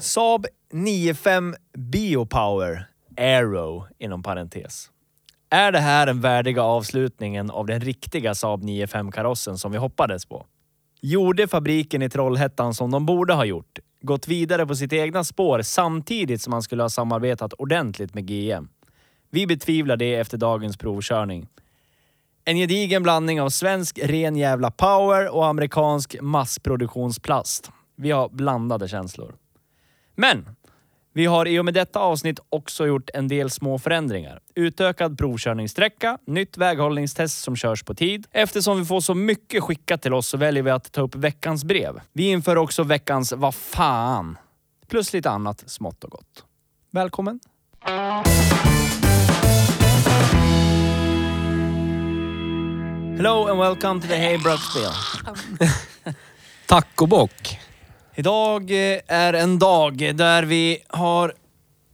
Saab 95 Biopower Aero inom parentes. Är det här den värdiga avslutningen av den riktiga Saab 95-karossen som vi hoppades på? Gjorde fabriken i Trollhättan som de borde ha gjort, gått vidare på sitt egna spår samtidigt som man skulle ha samarbetat ordentligt med GM. Vi betvivlar det efter dagens provkörning. En gedigen blandning av svensk ren jävla power och amerikansk massproduktionsplast. Vi har blandade känslor. Men vi har i och med detta avsnitt också gjort en del små förändringar. Utökad provkörningssträcka, nytt väghållningstest som körs på tid. Eftersom vi får så mycket skickat till oss så väljer vi att ta upp veckans brev. Vi inför också veckans Vad fan? Plus lite annat smått och gott. Välkommen! Hello and welcome to the Hey Bruxbill. Tacobock. Idag eh, är en dag där vi har...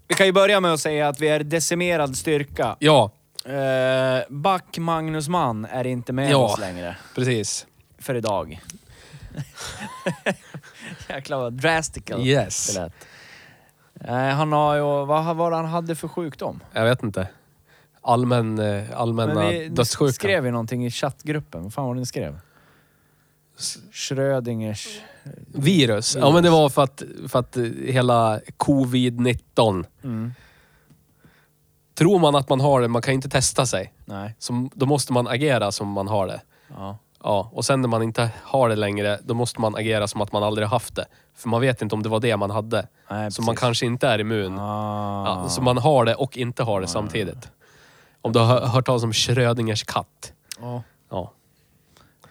Vi kan ju börja med att säga att vi är decimerad styrka. Ja, Eh, Back Magnus Mann är inte med Ja. oss längre precis. för idag. Jäklar vad drastical Yes. det lät. Eh, han har ju... Vad var det han hade för sjukdom? Jag vet inte. Allmän, eh, allmänna dödssjukan. skrev ju någonting i chattgruppen. Vad fan var det ni skrev? Schrödingers... Virus. Ja, men det var för att, för att eh, hela covid-19. Mm. Tror man att man har det, man kan ju inte testa sig. Nej. Så då måste man agera som man har det. Ja. Ja, och sen när man inte har det längre, då måste man agera som att man aldrig har haft det. För man vet inte om det var det man hade. Nej, så man precis. kanske inte är immun. Ah. Ja, så man har det och inte har det samtidigt. Om du har hö- hört talas om Schrödingers katt. Ja. Ja.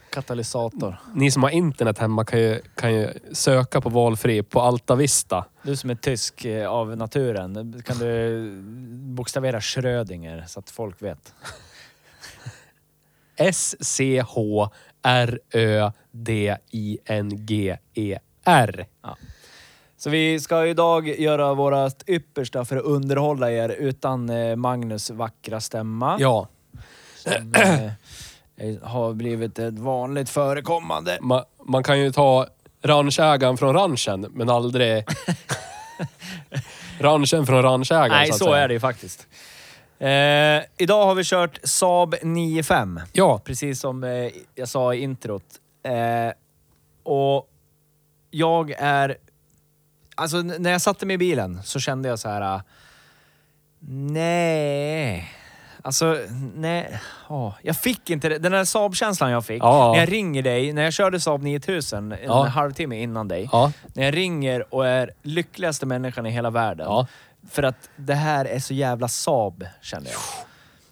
Katalysator. Ni som har internet hemma kan ju, kan ju söka på valfri på Alta Vista. Du som är tysk eh, av naturen, kan du bokstavera Schrödinger så att folk vet? E S-C-H-R-Ö-D-I-N-G-E-R. Så vi ska idag göra vårt yppersta för att underhålla er utan eh, Magnus vackra stämma. Ja, Som eh, är- har blivit ett vanligt förekommande. man, man kan ju ta ranchägaren från ranchen, men aldrig... ranchen från ranchägaren, Nej, att så säga. är det ju faktiskt. Eh, idag har vi kört Saab 95. Ja, precis som eh, jag sa i introt. Eh, och jag är... Alltså n- när jag satte mig i bilen så kände jag så här... eh, Nej. Alltså, nej. Åh, jag fick inte det. Den där Saab-känslan jag fick. Ja. När jag ringer dig, när jag körde Saab 9000 en Ja. halvtimme innan dig. ja, När jag ringer och är lyckligaste människan i hela världen. ja. För att det här är så jävla Saab, kände jag.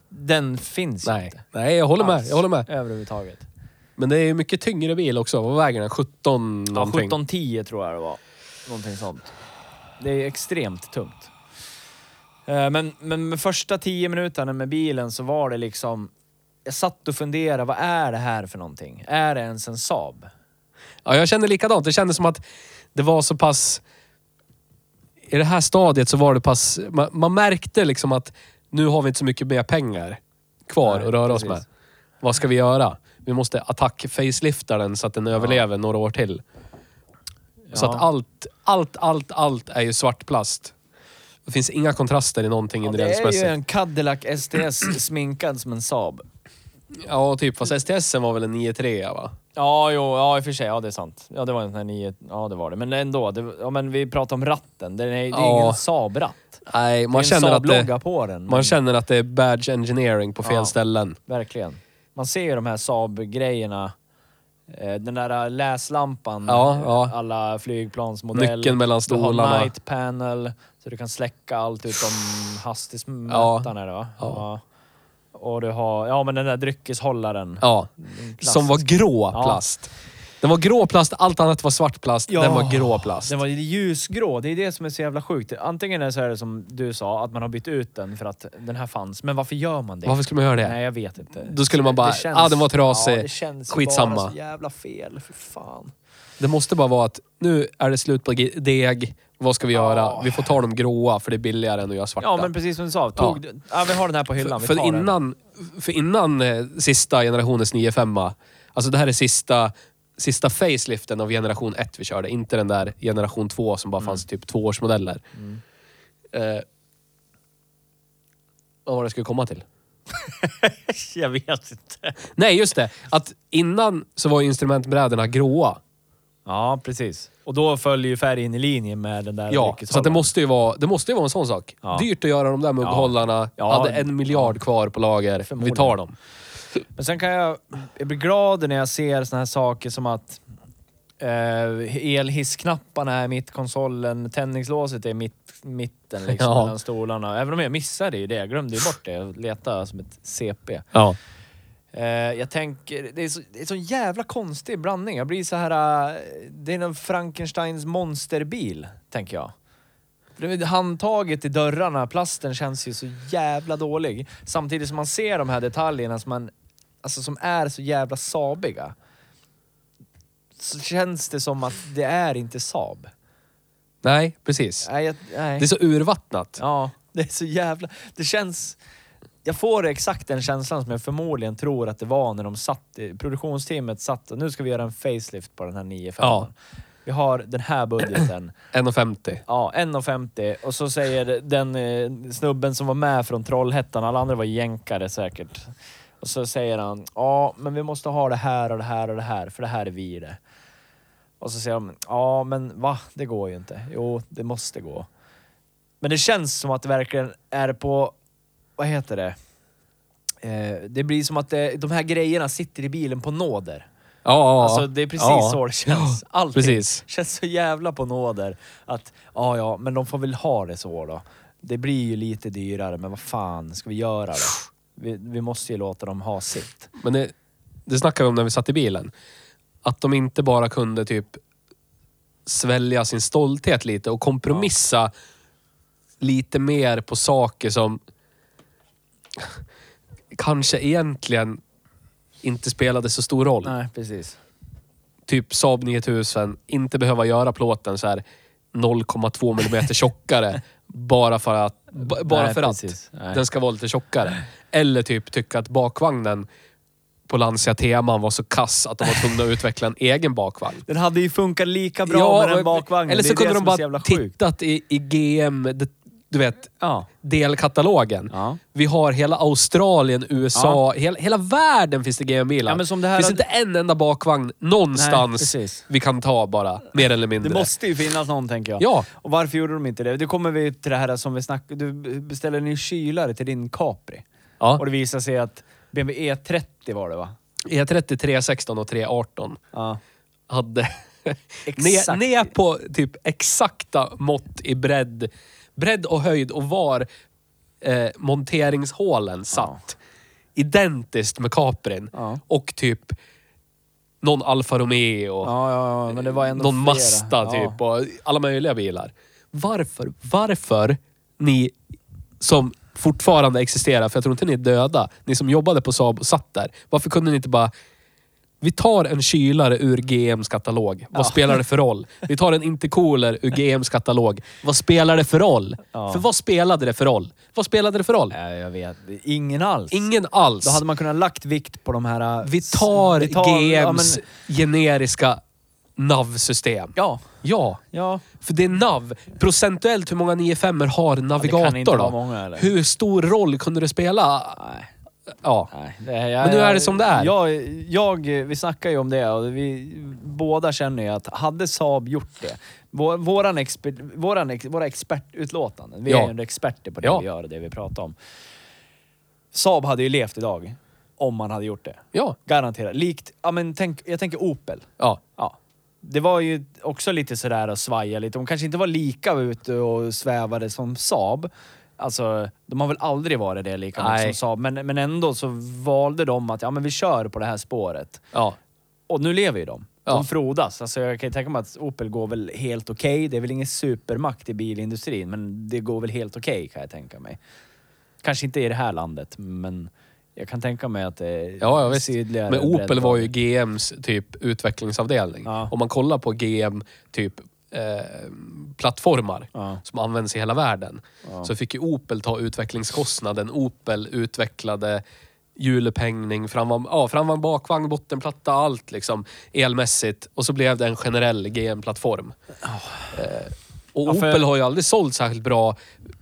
Den finns ju Nej, inte nej jag håller med. alls Jag håller med. Överhuvudtaget. Men det är ju mycket tyngre bil också. Vad väger den? 17 Ja, någonting? 1710 tror jag det var. Någonting sånt. Det är extremt tungt. Eh, Men, men med första 10 minuterna med bilen så var det liksom... Jag satt och funderade, vad är det här för någonting? Är det ens en Saab? Ja, jag känner likadant. Det kändes som att det var så pass... I det här stadiet så var det pass... Man, man märkte liksom att nu har vi inte så mycket mer pengar kvar Nej, att röra precis. oss med. Vad ska vi göra? Vi måste attack-facelifta den så att den överlever några år till. Så Ja. att allt, allt, allt, allt är ju svart plast. Det finns inga kontraster i någonting Ja, det är ju inredningsmässigt. en Cadillac STS sminkad som en Saab. Ja, typ. Fast STSen var väl en 9-3 va? Ja, jo, ja, i och för sig. Ja, det är sant. Ja, det var en sån här nio... Ja, det var det. Men ändå. Det, ja, men vi pratar om ratten. Det är, det är Ja. ingen Saab-ratt. Nej, man det är en känner, att Saab-logga det, på den. men- man känner att det är badge engineering på fel Ja. ställen. Verkligen. Man ser ju de här Saab-grejerna. Eh, Den där läslampan, Ja, ja. alla flygplansmodeller. Nyckeln mellan Du stolarna. har night panel, så du kan släcka allt utom Ja. hastighetsmätaren. Ja. Ja. Ja. Och du har, ja men den där dryckeshållaren. Ja. Plast. Som var grå Ja. plast. Den var grå plast, allt annat var svart plast. Ja. Den var grå plast. Den var ljusgrå, det är det som är så jävla sjukt. Antingen är det så här som du sa, att man har bytt ut den för att den här fanns. Men varför gör man det? Varför skulle man göra det? Nej, jag vet inte. Då skulle man bara, Det känns- ah, den var trasig. Ja, det känns Skitsamma. bara så jävla fel, för fan. Det måste bara vara att nu är det slut på ge- deg. Vad ska vi göra? Ja. Vi får ta de gråa för det är billigare än att göra svarta. Ja, men precis som du sa. Tog, ja. vi har den här på hyllan. för, vi tar för innan, för innan eh, sista generationens 95 Alltså det här är sista, sista faceliften av generation 1 vi körde. Inte den där generation 2 som bara Mm. fanns i typ tvåårsmodeller. Eh, vad var det jag skulle komma till? den. Jag vet inte. Nej, just det. Att innan så var ju instrumentbrädorna gråa. Ja, precis. Och då följer ju färgen i linje med den där Ja, så att det dryckeshållaren. måste ju vara, det måste ju vara en sån sak. Ja. Dyrt att göra de där mugghållarna. Ja. Hade en miljard kvar på lager. Vi Förmodligen. tar dem. Men sen kan jag... Jag blir glad när jag ser såna här saker som att eh, elhissknapparna är mitt konsolen, tändningslåset är mitt mitten liksom, Ja. mellan stolarna. Även om jag missade ju det. Jag glömde ju bort det. Jag letade som ett CP. Ja. Eh, jag tänker, det är, så, det är så jävla konstig blandning. Jag blir så här... eh, det är någon Frankensteins monsterbil, tänker jag. För det är Handtaget i dörrarna, plasten känns ju så jävla dålig. Samtidigt som man ser de här detaljerna som, man, alltså som är så jävla sabiga. Så känns det som att det är inte Saab. Nej, precis. Nej, jag, nej. Det är så urvattnat. Ja, det är så jävla... Det känns... Jag får exakt den känslan som jag förmodligen tror att det var när de satt, i- produktionsteamet satt och nu ska vi göra en facelift på den här 905. Ja. Vi har den här budgeten. 1,50. Ja, 1,50 och så säger den eh, snubben som var med från Trollhättan, alla andra var jänkare säkert. Och så säger han, ja men vi måste ha det här och det här och det här för det här är vi det. Och så säger de, ja men va, det går ju inte. Jo, det måste gå. Men det känns som att det verkligen är på, vad heter det? Eh, det blir som att det, de här grejerna sitter i bilen på nåder. Ja, ja, Alltså det är precis ja. så det känns. Ja, Allting Precis. känns så jävla på nåder. Att, ja ja, men de får väl ha det så då. Det blir ju lite dyrare, men vad fan ska vi göra då? Vi, vi måste ju låta dem ha sitt. Men det, det snackade vi om när vi satt i bilen. Att de inte bara kunde typ svälja sin stolthet lite och kompromissa lite mer på saker som kanske egentligen inte spelade så stor roll. Nej, precis. Typ Saab 9000, inte behöva göra plåten så här 0,2 millimeter tjockare bara för att, b- bara Nej, för att precis. Nej. den ska vara lite tjockare. Eller typ tycka att bakvagnen på Lancia Teman var så kass att de var tvungna att utveckla en egen bakvagn. Den hade ju funkat lika bra med den men- bakvagnen. Eller det så är kunde det de som är så bara jävla sjukt. tittat i, i GM, det- du vet, Ja. delkatalogen. Ja. Vi har hela Australien, USA, hela, hela världen finns det GM-bilar. Ja, men som det här- finns inte en enda bakvagn Nej, någonstans precis. vi kan ta bara, mer eller mindre. Det måste ju finnas någon, tänker jag. Ja. Och varför gjorde de inte det? Det kommer vi till det här som vi snackade... Du beställde en ny kylare till din Capri. Ja. Och det visade sig att BMW E30 E var det va? E30 316 och 318 Ja. hade... ner, Exakt. ner på typ exakta mått i bredd, bredd och höjd och var eh, monteringshålen satt. Identiskt med Caprin. Ja. Och typ någon Alfa Romeo. Ja, ja, ja, men det var ändå någon flera. Mazda Ja. typ och alla möjliga bilar. Varför, varför ni som fortfarande existerar, för jag tror inte ni är döda, ni som jobbade på Saab och satt där. Varför kunde ni inte bara vi tar en kylare ur GMs katalog. Vad spelar det för roll? Vi tar en intercooler ur GMs katalog. Vad spelar det för roll? Ja. För vad spelade det för roll? Vad spelade det för roll? Nej, jag vet. Ingen alls. Ingen alls. Då hade man kunnat lagt vikt på de här... Vi tar, vi tar- ja, men- GMs generiska NAV-system. Ja. ja. Ja. För det är nav. Procentuellt hur många 95 har navigator inte då? vara många, eller? hur stor roll kunde det spela? Nej. Ja. Nej, det, jag, Men nu är det som det är. Jag, jag, vi snackar ju om det och vi båda känner ju att hade Saab gjort det, vår, våran exper, våran, ex- våra expertutlåtanden, vi Ja. är ju ändå experter på det Ja. vi gör och det vi pratar om. Saab hade ju levt idag om man hade gjort det. Ja. Garanterat. Likt, ja men tänk, jag tänker Opel. Ja. Ja. Det var ju också lite sådär att svaja lite. De kanske inte var lika ute och svävade som Saab. Alltså, de har väl aldrig varit det lika mycket Nej. som Saab. Men, men ändå så valde de att ja, men vi kör på det här spåret. Ja. Och nu lever ju de. Ja. De frodas. Alltså, jag kan ju tänka mig att Opel går väl helt okej. Det är väl ingen supermakt i bilindustrin, men det går väl helt okej kan jag tänka mig. Kanske inte i det här landet, men jag kan tänka mig att det är Ja, ja visst. sydligare Men Opel bredd var av- ju GMs typ utvecklingsavdelning. Ja. Om man kollar på GM typ eh, plattformar Ja. som används i hela världen. Så fick ju Opel ta utvecklingskostnaden. Opel utvecklade hjulupphängning, framvagn, ja, framvagn, bakvagn, bottenplatta, allt liksom elmässigt. Och så blev det en generell GM-plattform. Eh, och Ja, för- Opel har ju aldrig sålt särskilt bra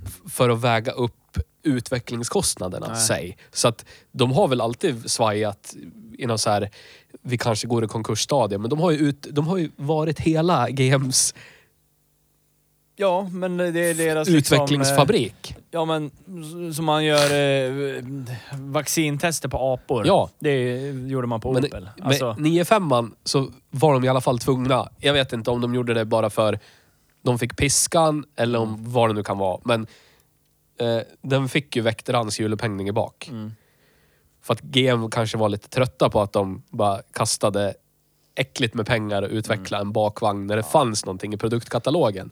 f- för att väga upp utvecklingskostnaderna Nej. sig. Så att de har väl alltid svajat i någon så här, vi kanske går i konkursstadiet, men de har ju, ut, de har ju varit hela GMs Ja, men det är deras liksom, eh, utvecklingsfabrik. Ja men s- som man gör eh, vaccintester på apor. Ja. Det gjorde man på Men, Opel. Alltså, men 9-5 så var de i alla fall tvungna. Jag vet inte om de gjorde det bara för de fick piskan eller Mm. om vad det nu kan vara. Men eh, den fick ju väktarens hjulupphängning i bak. Mm. För att GM kanske var lite trötta på att de bara kastade äckligt med pengar och utveckla Mm. en bakvagn när det fanns någonting i produktkatalogen.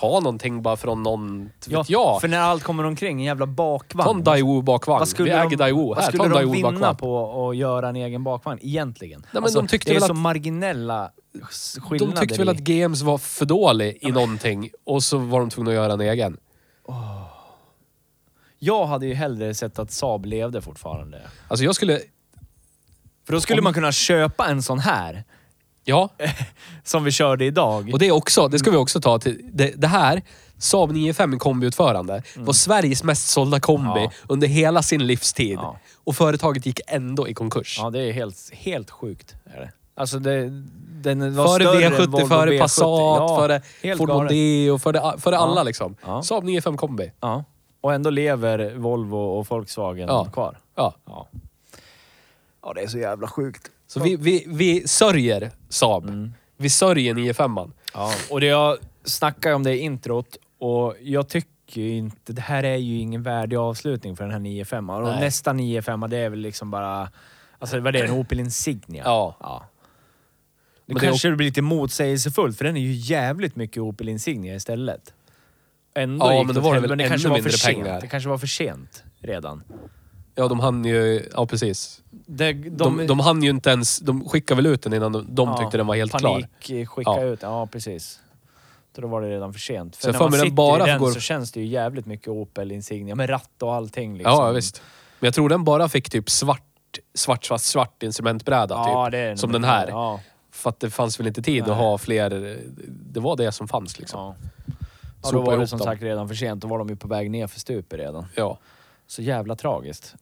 Ta någonting bara från någon, inte vet jag. För när allt kommer omkring, en jävla bakvagn. Ta en Daewoo bakvagn. Vad Vi skulle äger de, Daewoo. vad Här, ta skulle en de Daewoo vinna bakvagn. på att göra en egen bakvagn egentligen? Alltså, men de tyckte det är väl så att- marginella s- De skillnader. tyckte väl i- att GMs var för dålig i någonting och så var de tvungna att göra en egen. Jag hade ju hellre sett att Saab levde fortfarande. Alltså jag skulle... För då skulle man kunna köpa en sån här Ja, Eh. som vi körde idag. och det är också, det ska vi också ta till. Det, det här, Saab 9-5 kombiutförande, var Sveriges mest sålda kombi Mm. Ja. under hela sin livstid. Ja. Och företaget gick ändå i konkurs. Ja, det är helt, helt sjukt. Är det. Alltså det, den var Före större än V70, Volvo före V70. Passat, Ja, före helt Ford galet. Mondeo, före, före alla liksom. Ja. Saab 9-5 kombi. Ja. Och ändå lever Volvo och Volkswagen Ja. kvar. Ja. Ja. ja, det är så jävla sjukt. Så vi, vi, vi sörjer Saab. Mm. Vi sörjer 9-5an. Ja. Och det jag snackar om det i introt och jag tycker ju inte... Det här är ju ingen värdig avslutning för den här 95 Och Nej. nästa 95 det är väl liksom bara... Alltså vad det är, en Opel Insignia. Ja. Det Men det är kanske det blir lite motsägelsefullt för den är ju jävligt mycket Opel Insignia istället. Ändå Ja, gick men då åt var det helvete. väl det kanske ännu var för mindre sent. pengar. Det kanske var för sent redan. Ja, de hann ju... Ja, precis. Det, de, De, de hann ju inte ens... De skickade väl ut den innan de, de tyckte den var helt klar. Panik, liksom. eh, skicka Ja. ut. Ja, precis. Så då var det redan för sent. För Så jag när får man mig den sitter bara i den går- så känns det ju jävligt mycket Opel Insignia med ratt och allting. Liksom. Ja, ja, visst. Men jag tror den bara fick typ svart, svart, svart, svart instrumentbräda Ja, typ. det är nog som mycket den här. bra. Ja, För att det fanns väl inte tid Nej. att ha fler... Det var det som fanns liksom. ja. ja, då Sopa var det ihop som dem. sagt redan för sent. Då var de ju på väg ner för stupet redan. Ja. Så jävla tragiskt.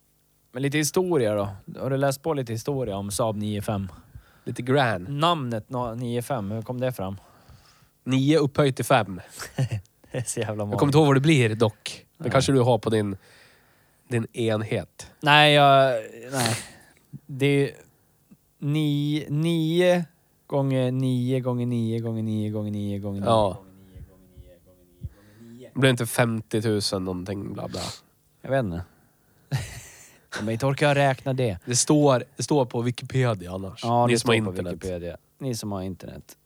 Men lite historia då. Har du läst på lite historia om Saab 95? Lite gran. Namnet na- 95, hur kom det fram? Nio upphöjt till fem. Det är så jävla Jag kommer magiskt. inte ihåg vad det blir dock. Det kanske du har på din, din enhet. Nej, jag... Nej. Det är nio, nio gånger nio gånger nio gånger nio gånger nio gånger nio. Ja. Det blir inte 50 000 någonting bla bla. Jag vet inte. Men inte orkar jag räkna det. Det står, det står på Wikipedia annars. Ja, Ni det som har står på internet. Wikipedia. Ni som har internet.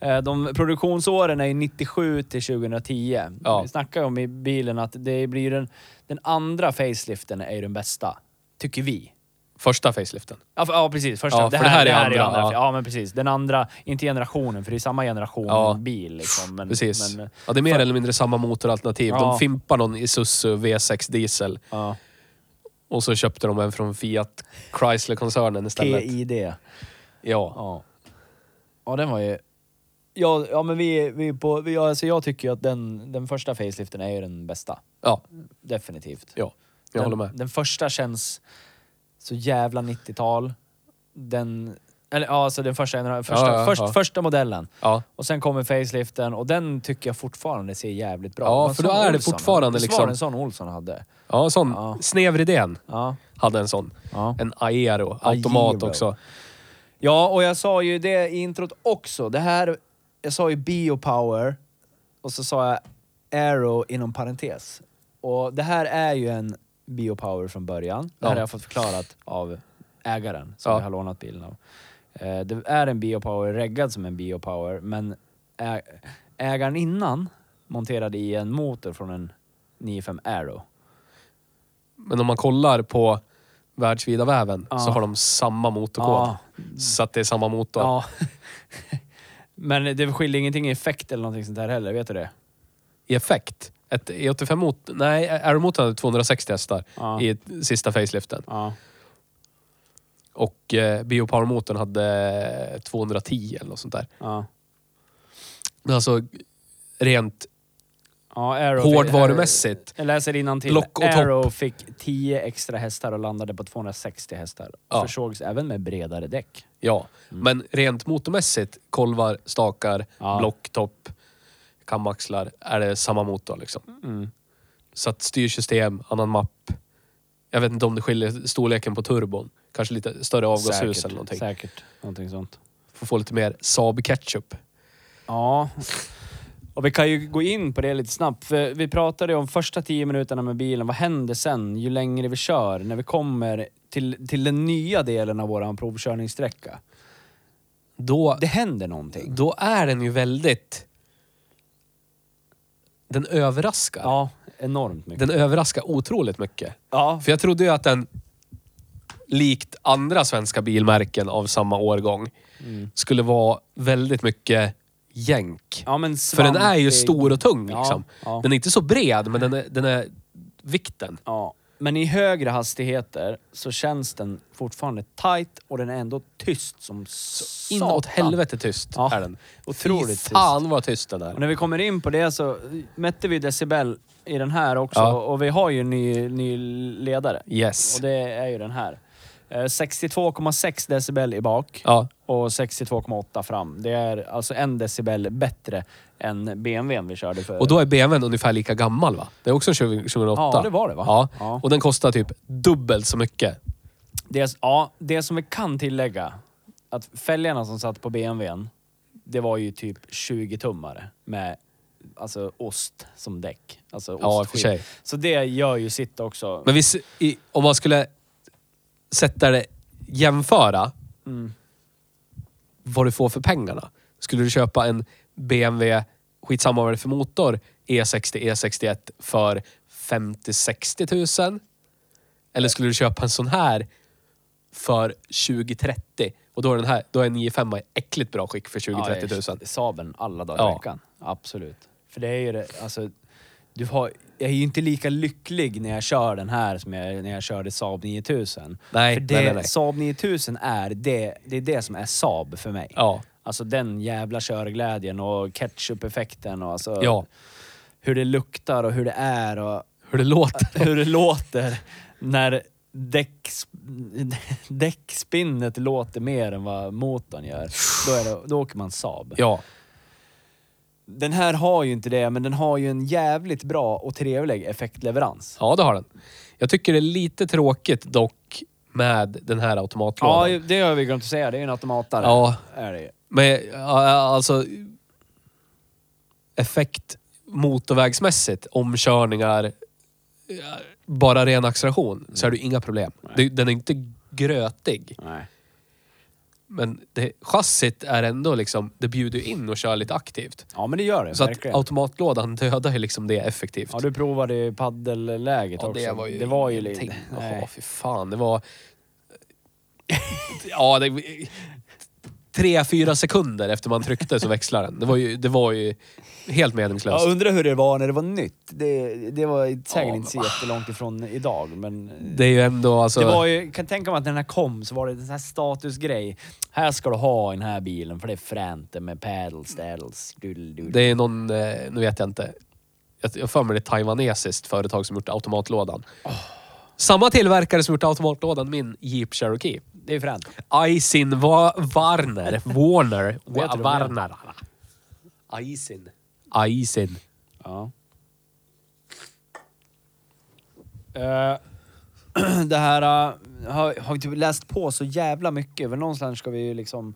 Eh, De produktionsåren är ju 97 till 2010. Ja. Vi snackar ju om i bilen att det blir ju den, den andra faceliften är ju den bästa. Tycker vi. Första faceliften. Ja, för, ja precis. Första, Ja, det, för här, det här är ju andra. andra, ja. Ja. men precis. Den andra, inte generationen, för det är samma generation Ja. bil. Liksom, men, Precis. Men, ja, det är mer eller mindre samma motoralternativ. De Ja. fimpar någon Isuzu V6 diesel ja. och så köpte de en från Fiat Chrysler-koncernen istället. PID. Ja. Ja. Ja, den var ju... Ja, ja men vi, vi är på... Vi, alltså jag tycker ju att den, den första faceliften är ju den bästa. Ja. Definitivt. ja, jag den, håller med. Den första känns... så jävla 90-tal. Den, eller ja, alltså den första, genera- första, ja, först, ja. första modellen. Ja. Och sen kommer faceliften och den tycker jag fortfarande ser jävligt bra. Ja, Det var en för då sån är det Olsson. fortfarande Det var liksom- en sån Olsson hade. Ja, sån. Ja. Snevridén Ja. hade en sån. Ja. En Aero. Automat Aero. också. ja, och jag sa ju det i introt också. Det här, jag sa ju biopower och så sa jag aero inom parentes. Och det här är ju en biopower från början. Det här Ja. har jag fått förklarat av ägaren som Ja. jag har lånat bilen av. Eh, Det är en biopower, reggad som en biopower, men ä- ägaren innan monterade i en motor från en 95 Aero. Men om man kollar på världsvida väven Ja. så har de samma motorkod. Ja. Så att det är samma motor. Ja. Men det skiljer ingenting i effekt eller någonting sånt där heller, vet du det? I effekt. Ett E85-motor... Nej, Aero-motorn hade 260 hästar Ja. i sista faceliften. Ja. Och eh, Biopower-motorn hade 210 eller något sånt där. Ja, Men Alltså rent ja Aero hårdvarumässigt. Jag läser innantill. Lock och topp. Aero fick 10 extra hästar och landade på 260 hästar. Ja. Försågs även med bredare däck. Ja, men rent motormässigt, kolvar, stakar, mm. Ja. block, topp, kamaxlar, är det samma motor liksom. Mm. Så att styrsystem, annan mapp. Jag vet inte om det skiljer storleken på turbon. Kanske lite större avgashus eller någonting. Säkert. Någonting sånt. Får få lite mer Saab ketchup. Ja. Och vi kan ju gå in på det lite snabbt, för vi pratade ju om första 10 minuterna med bilen. Vad händer sen, ju längre vi kör, när vi kommer till, till den nya delen av våran provkörningssträcka? Då, Det händer någonting. då är den ju väldigt... Den överraskar. Ja, enormt mycket. Den överraskar otroligt mycket. ja, För jag trodde ju att den, likt andra svenska bilmärken av samma årgång, Mm. skulle vara väldigt mycket jänk. ja, men För den är ju svampig. stor och tung Ja, liksom. ja. Den är inte så bred, men den är, den är vikten. Ja. Men i högre hastigheter så känns den fortfarande tight och den är ändå tyst som satan. Inåt helvete tyst Ja. är den. Otroligt Fy fan vad tyst den Och är. när vi kommer in på det så mätte vi decibel i den här också Ja. och vi har ju en ny, ny ledare. Yes. Och det är ju den här. Eh, 62,6 decibel i bak Ja. och 62,8 fram. Det är alltså en decibel bättre än BMWn vi körde för. Och då är BMWn ungefär lika gammal va? Det är också 20- 2008. Ja, det var det, va? Ja. Ja. Och den kostar typ dubbelt så mycket. Det, ja, det som vi kan tillägga, att fälgarna som satt på BMWn, det var ju typ 20-tummare med alltså, ost som däck. Alltså Ja, i och för ostskiv. sig. Så det gör ju sitt också. Men visst, i, om man skulle sätta det, jämföra Mm. vad du får för pengarna. Skulle du köpa en BMW, skitsamma vad det är för motor, E E60, E61 för 50-60 000? Eller skulle du köpa en sån här för 20-30? Och då är den här, då är 95 i äckligt bra skick för 20-30 000. Ja, Saben alla dagar Ja. i veckan. Absolut. För det är ju det, alltså, du har, jag är ju inte lika lycklig när jag kör den här som jag, när jag körde Saab 9000. Nej, för det, nej, nej, nej. Saab 9000 är det, det är det som är Saab för mig. Ja. Alltså den jävla körglädjen och ketchup-effekten och alltså Ja, hur det luktar och hur det är och hur det låter. hur det låter när däcks, däckspinnet låter mer än vad motorn gör. Då, är det, då åker man Saab. Ja. Den här har ju inte det, men den har ju en jävligt bra och trevlig effektleverans. Ja, det har den. Jag tycker det är lite tråkigt dock med den här automatlådan. Ja, det har vi glömt att säga. Det är ju en automatare. Ja. Är det ju. Men ja, alltså... Effekt motorvägsmässigt, omkörningar, ja, bara ren acceleration, så är det ju inga problem. Det, den är inte grötig. Nej. Men det, chassit är ändå liksom, det bjuder ju in och kör lite aktivt. Ja, men det gör det. Så att verkligen. automatlådan dödar ju liksom det effektivt. Ja, du provade ju paddelläget Ja, också. det var ju det var ju ingenting. lite... Ja, Nej. fy fan. Det var... Ja, det... Tre, fyra sekunder efter man tryckte så växlar den. Det var ju, det var ju helt meningslöst. Jag undrar hur det var när det var nytt. Det, det var säkert Ja, inte så jättelångt ifrån idag, men... Det är ju ändå alltså... Det var ju, kan tänka mig att när den här kom så var det en sån här statusgrej. Här ska du ha i den här bilen för det är fränt det med paddles, daddles, doodle, doodle. Det är någon, eh, nu vet jag inte. Jag jag har för mig det är ett taiwanesiskt företag som gjort automatlådan. Samma tillverkare som gjort automatlådan, min Jeep Cherokee. Det är fränt. Aisin Va- Warner. Warner. Vet du vad det är? Warner. Aisin. Aisin. Ja. Eh, det här eh, har, har vi typ läst på så jävla mycket. Men någonstans ska vi ju liksom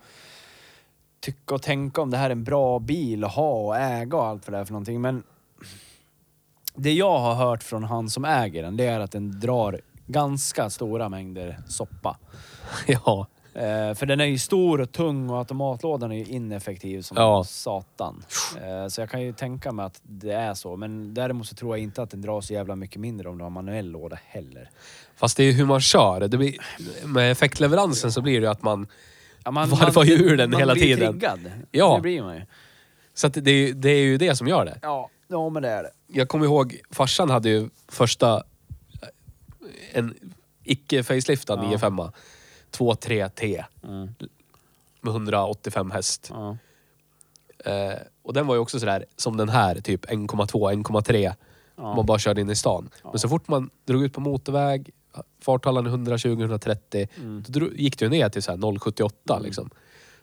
tycka och tänka om det här är en bra bil att ha och äga och allt för det här för någonting. Men det jag har hört från han som äger den, det är att den drar ganska stora mängder soppa. Ja. Eh, för den är ju stor och tung och automatlådan är ju ineffektiv som Ja. satan. Eh, så jag kan ju tänka mig att det är så. Men däremot så tror jag inte att den drar så jävla mycket mindre om du har manuell låda heller. Fast det är ju hur man kör. Det blir, med effektleveransen så blir det ju att man... Ja, Varvar ju ur den man hela blir ju tiden. triggad. Ja. Det blir man ju. Så att det, är ju- det är ju det som gör det. Ja, ja men det är det. Jag kommer ihåg, farsan hade ju första... eh, En icke-faceliftad Ja. 95 2.3T Mm. med 185 häst. Ja. Eh, och den var ju också sådär som den här, typ 1,2, 1,3. Ja. Man bara körde in i stan. Men så fort man drog ut på motorväg, farthållaren 120-130, Mm. då dro- gick det ju ner till så här 0,78 liksom.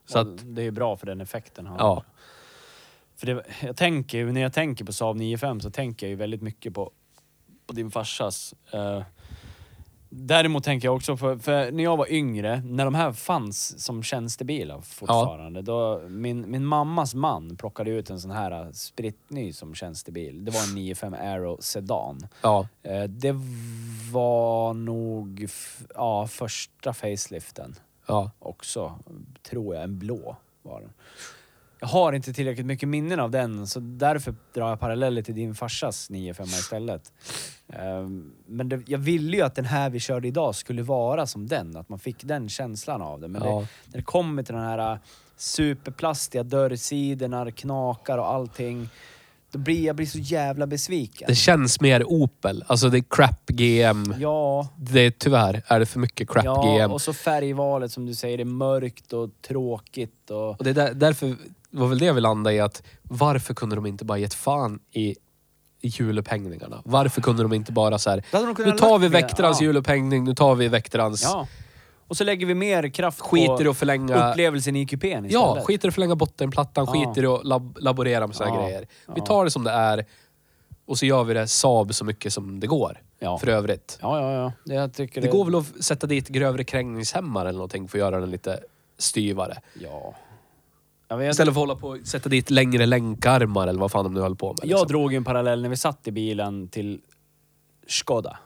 Så Så att, Det är ju bra för den effekten han ja. För det, jag tänker ju, när jag tänker på Saab 9-5 så tänker jag ju väldigt mycket på, på din farsas. Eh, däremot tänker jag också, för, för när jag var yngre, när de här fanns som tjänstebilar fortfarande. Då min, min mammas man plockade ut en sån här eh, spritny som tjänstebil. Det var en 9-5 Aero Sedan. Ja. Eh, det var nog f- ja, första faceliften Ja. också, tror jag. En blå var den. Jag har inte tillräckligt mycket minnen av den, så därför drar jag paralleller till din farsas 9-5 istället. Ehm, Men det, jag ville ju att den här vi körde idag skulle vara som den, att man fick den känslan av den. Men Ja. det, när det kommer till den här äh, superplastiga dörrsidorna, knakar och allting, då blir jag blir så jävla besviken. Det känns mer Opel. Alltså det är crap GM. Ja, Det är, tyvärr är det för mycket crap ja, GM. och så färgvalet som du säger, det är mörkt och tråkigt och... Och det är där, därför var väl det jag ville landa i att varför kunde de inte bara gett fan i i julupphängningarna? Varför kunde de inte bara så här, Då hade de kunnat nu tar vi lagt mer, Vectrans ja. julupphängning, nu tar vi Vectrans... Ja. Och så lägger vi mer kraft Skiter i på att förlänga... upplevelsen i kupén istället. Ja, skiter i att förlänga bottenplattan, Ja. skiter i att lab laborera med såna här Ja. grejer. Vi Ja. tar det som det är och så gör vi det Saab så mycket som det går. Ja. För övrigt. Ja, ja, ja. Det, jag tycker Det går väl att sätta dit grövre krängningshämmare eller någonting för att göra den lite styvare. Ja. Jag, vet, Istället för att hålla på och sätta dit längre länkarmar eller vad fan de nu höll på med. liksom. jag drog ju en parallell när vi satt i bilen till Skoda.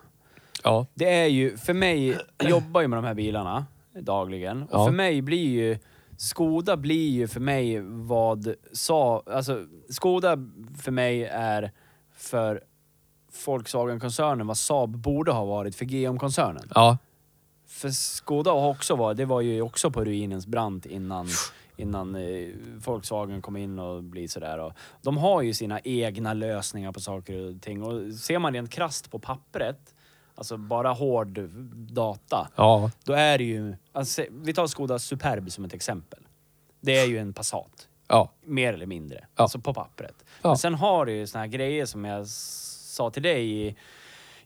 Ja. Det är ju, för mig, jag jobbar ju med de här bilarna dagligen. Och Ja. för mig blir ju, Skoda blir ju för mig vad sa, alltså Skoda för mig är för Volkswagen-koncernen vad Saab borde ha varit för GM-koncernen. Ja. För Skoda har också varit, det var ju också på ruinens brant innan, innan eh, Volkswagen kom in och blir sådär. Och de har ju sina egna lösningar på saker och ting och ser man rent krasst på pappret, alltså bara hård data, Ja. då är det ju... Alltså, vi tar Skoda Superb som ett exempel. Det är ju en Passat Ja. mer eller mindre. Ja. Alltså på pappret. Ja. Men sen har du ju såna här grejer som jag s- sa till dig i,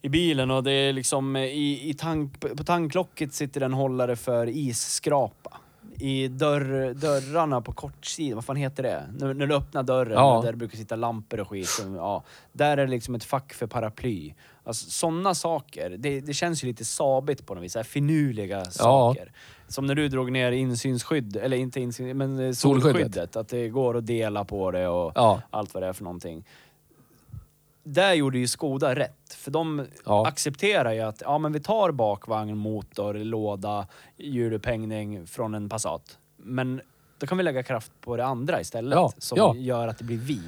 i bilen och det är liksom eh, i, i tank, på tanklocket sitter en hållare för isskrapa. I dörr, dörrarna på kortsidan, vad fan heter det? När, när du öppnar dörren, Ja. där det brukar sitta lampor och skit. Och, ja, där är det liksom ett fack för paraply. Alltså sådana saker, det, det känns ju lite sabigt på något vis. Så här finurliga saker. Som när du drog ner insynsskydd, eller inte insyn, men eh, Solskyddet. solskyddet. Att det går att dela på det och Ja. allt vad det är för någonting. Där gjorde ju Skoda rätt, för de Ja. accepterar ju att ja, men vi tar bakvagn, motor, låda, hjulupphängning från en Passat. Men då kan vi lägga kraft på det andra istället Ja, som ja. gör att det blir vi.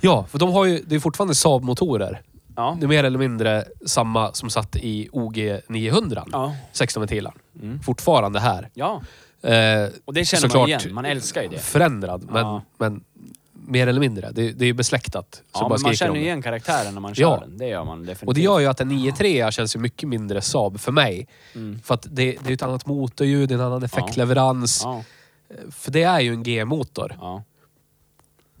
Ja, för de har ju... Det är fortfarande Saab-motorer. Ja. Det är mer eller mindre samma som satt i OG 900. Ja. 16 ventilaren. Fortfarande här. ja, Eh, och det känner man igen. Man älskar ju det. Förändrad, men, Ja. men mer eller mindre. Det, det är ju besläktat. Så Ja, bara men man skriker känner om ju det. igen karaktären när man kör Ja. den. Det gör man definitivt. Och det gör ju att en 9.3 känns ju mycket mindre Saab för mig. Mm. För att det, det är ju ett annat motorljud, det är en annan effektleverans. Eh, Ja, För det är ju en G-motor. ja,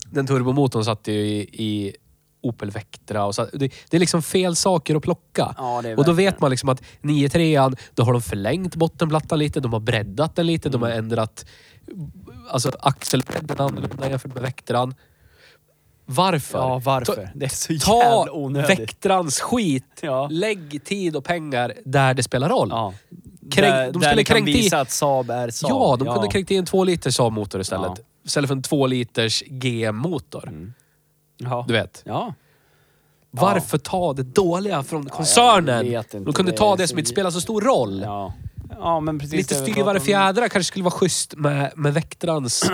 Den turbomotorn satt ju i, i Opel Vectra. Och så, det, det är liksom fel saker att plocka. Ja, det är och då verkligen. vet man liksom att 9-3an, då har de förlängt bottenplattan lite, de har breddat den lite, de har Mm. ändrat alltså, axelbredden annorlunda jämfört med Vectran. Varför? Ja, varför? Ta, det är så ta jävla onödigt. Vectrans skit. Ja. Lägg tid och pengar där det spelar roll. Ja. Kränk- där, de där skulle ni kan kränkt i- visa att Saab är Saab. Ja, de kunde kränkt i en 2 liters Saab-motor istället. Istället för en 2 liters GM-motor. ja. Du vet. Mm. Ja. Varför ta det dåliga från jag koncernen? vet inte. de kunde Det ta är det så som inte jä- spelar så stor roll. Ja. ja, men precis. Lite det vi styvare pratade om. fjädrar kanske skulle vara schysst med, med Vectrans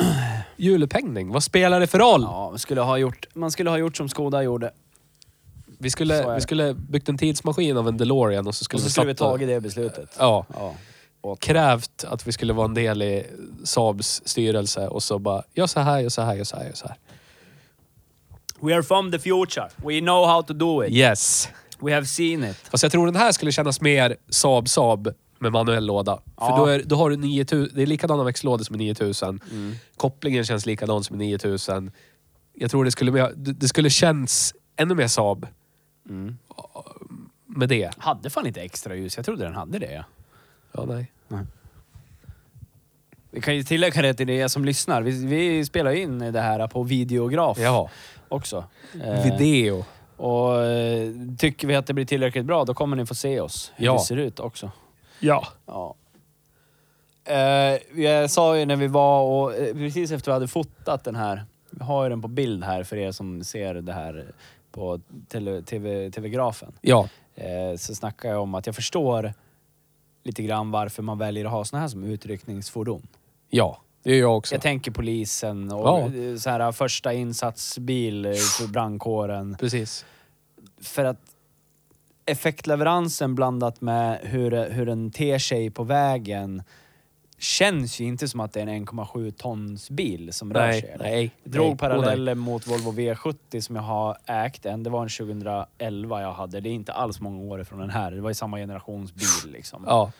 hjulupphängning. Vad spelar det för roll? Ja, man skulle ha gjort, man skulle ha gjort som Skoda gjorde. Så är Vi, skulle, det. vi skulle byggt en tidsmaskin av en DeLorean och så skulle Och så vi skulle vi satt och- tagit det beslutet. Ja. Ja. Krävt att vi skulle vara en del i Saabs styrelse och så bara, gör så här, gör så här, gör så här, gör så här. We are from the future. We know how to do it. Yes. We have seen it. Fast jag tror den här skulle kännas mer Saab Saab med manuell låda. Ja. För då, är, då har du 9000, det är likadana växellådor som i 9000. Mm. Kopplingen känns likadan som i 9000. Jag tror det skulle, mer- det det skulle känns ännu mer Saab. Mm. Med det. Hade fan inte extra ljus. Jag trodde den hade det. Ja. Ja, nej. Vi kan ju tillägga det till er som lyssnar. Vi, vi spelar ju in det här på videograf Ja. också. Eh, Video. Och eh, tycker vi att det blir tillräckligt bra, då kommer ni få se oss. Hur Ja. det ser ut också. Ja. Ja. Eh, jag sa ju när vi var och eh, precis efter vi hade fotat den här. Vi har ju den på bild här för er som ser det här på tele, TV, TV-grafen. Ja. Eh, så snackade jag om att jag förstår lite grann varför man väljer att ha såna här som utryckningsfordon. Ja. Det är jag också. Jag tänker polisen och Ja. eh, så här första insatsbil eh, för brandkåren. Precis. För att effektleveransen blandat med hur, hur den ter sig på vägen känns ju inte som att det är en 1,7 tons bil som rör sig. Nej. Nej. Jag drog nej. paralleller mot Volvo V70 som jag har ägt än. Det var en 2011 jag hade. Det är inte alls många år från den här. Det var ju samma generations bil liksom. Ja.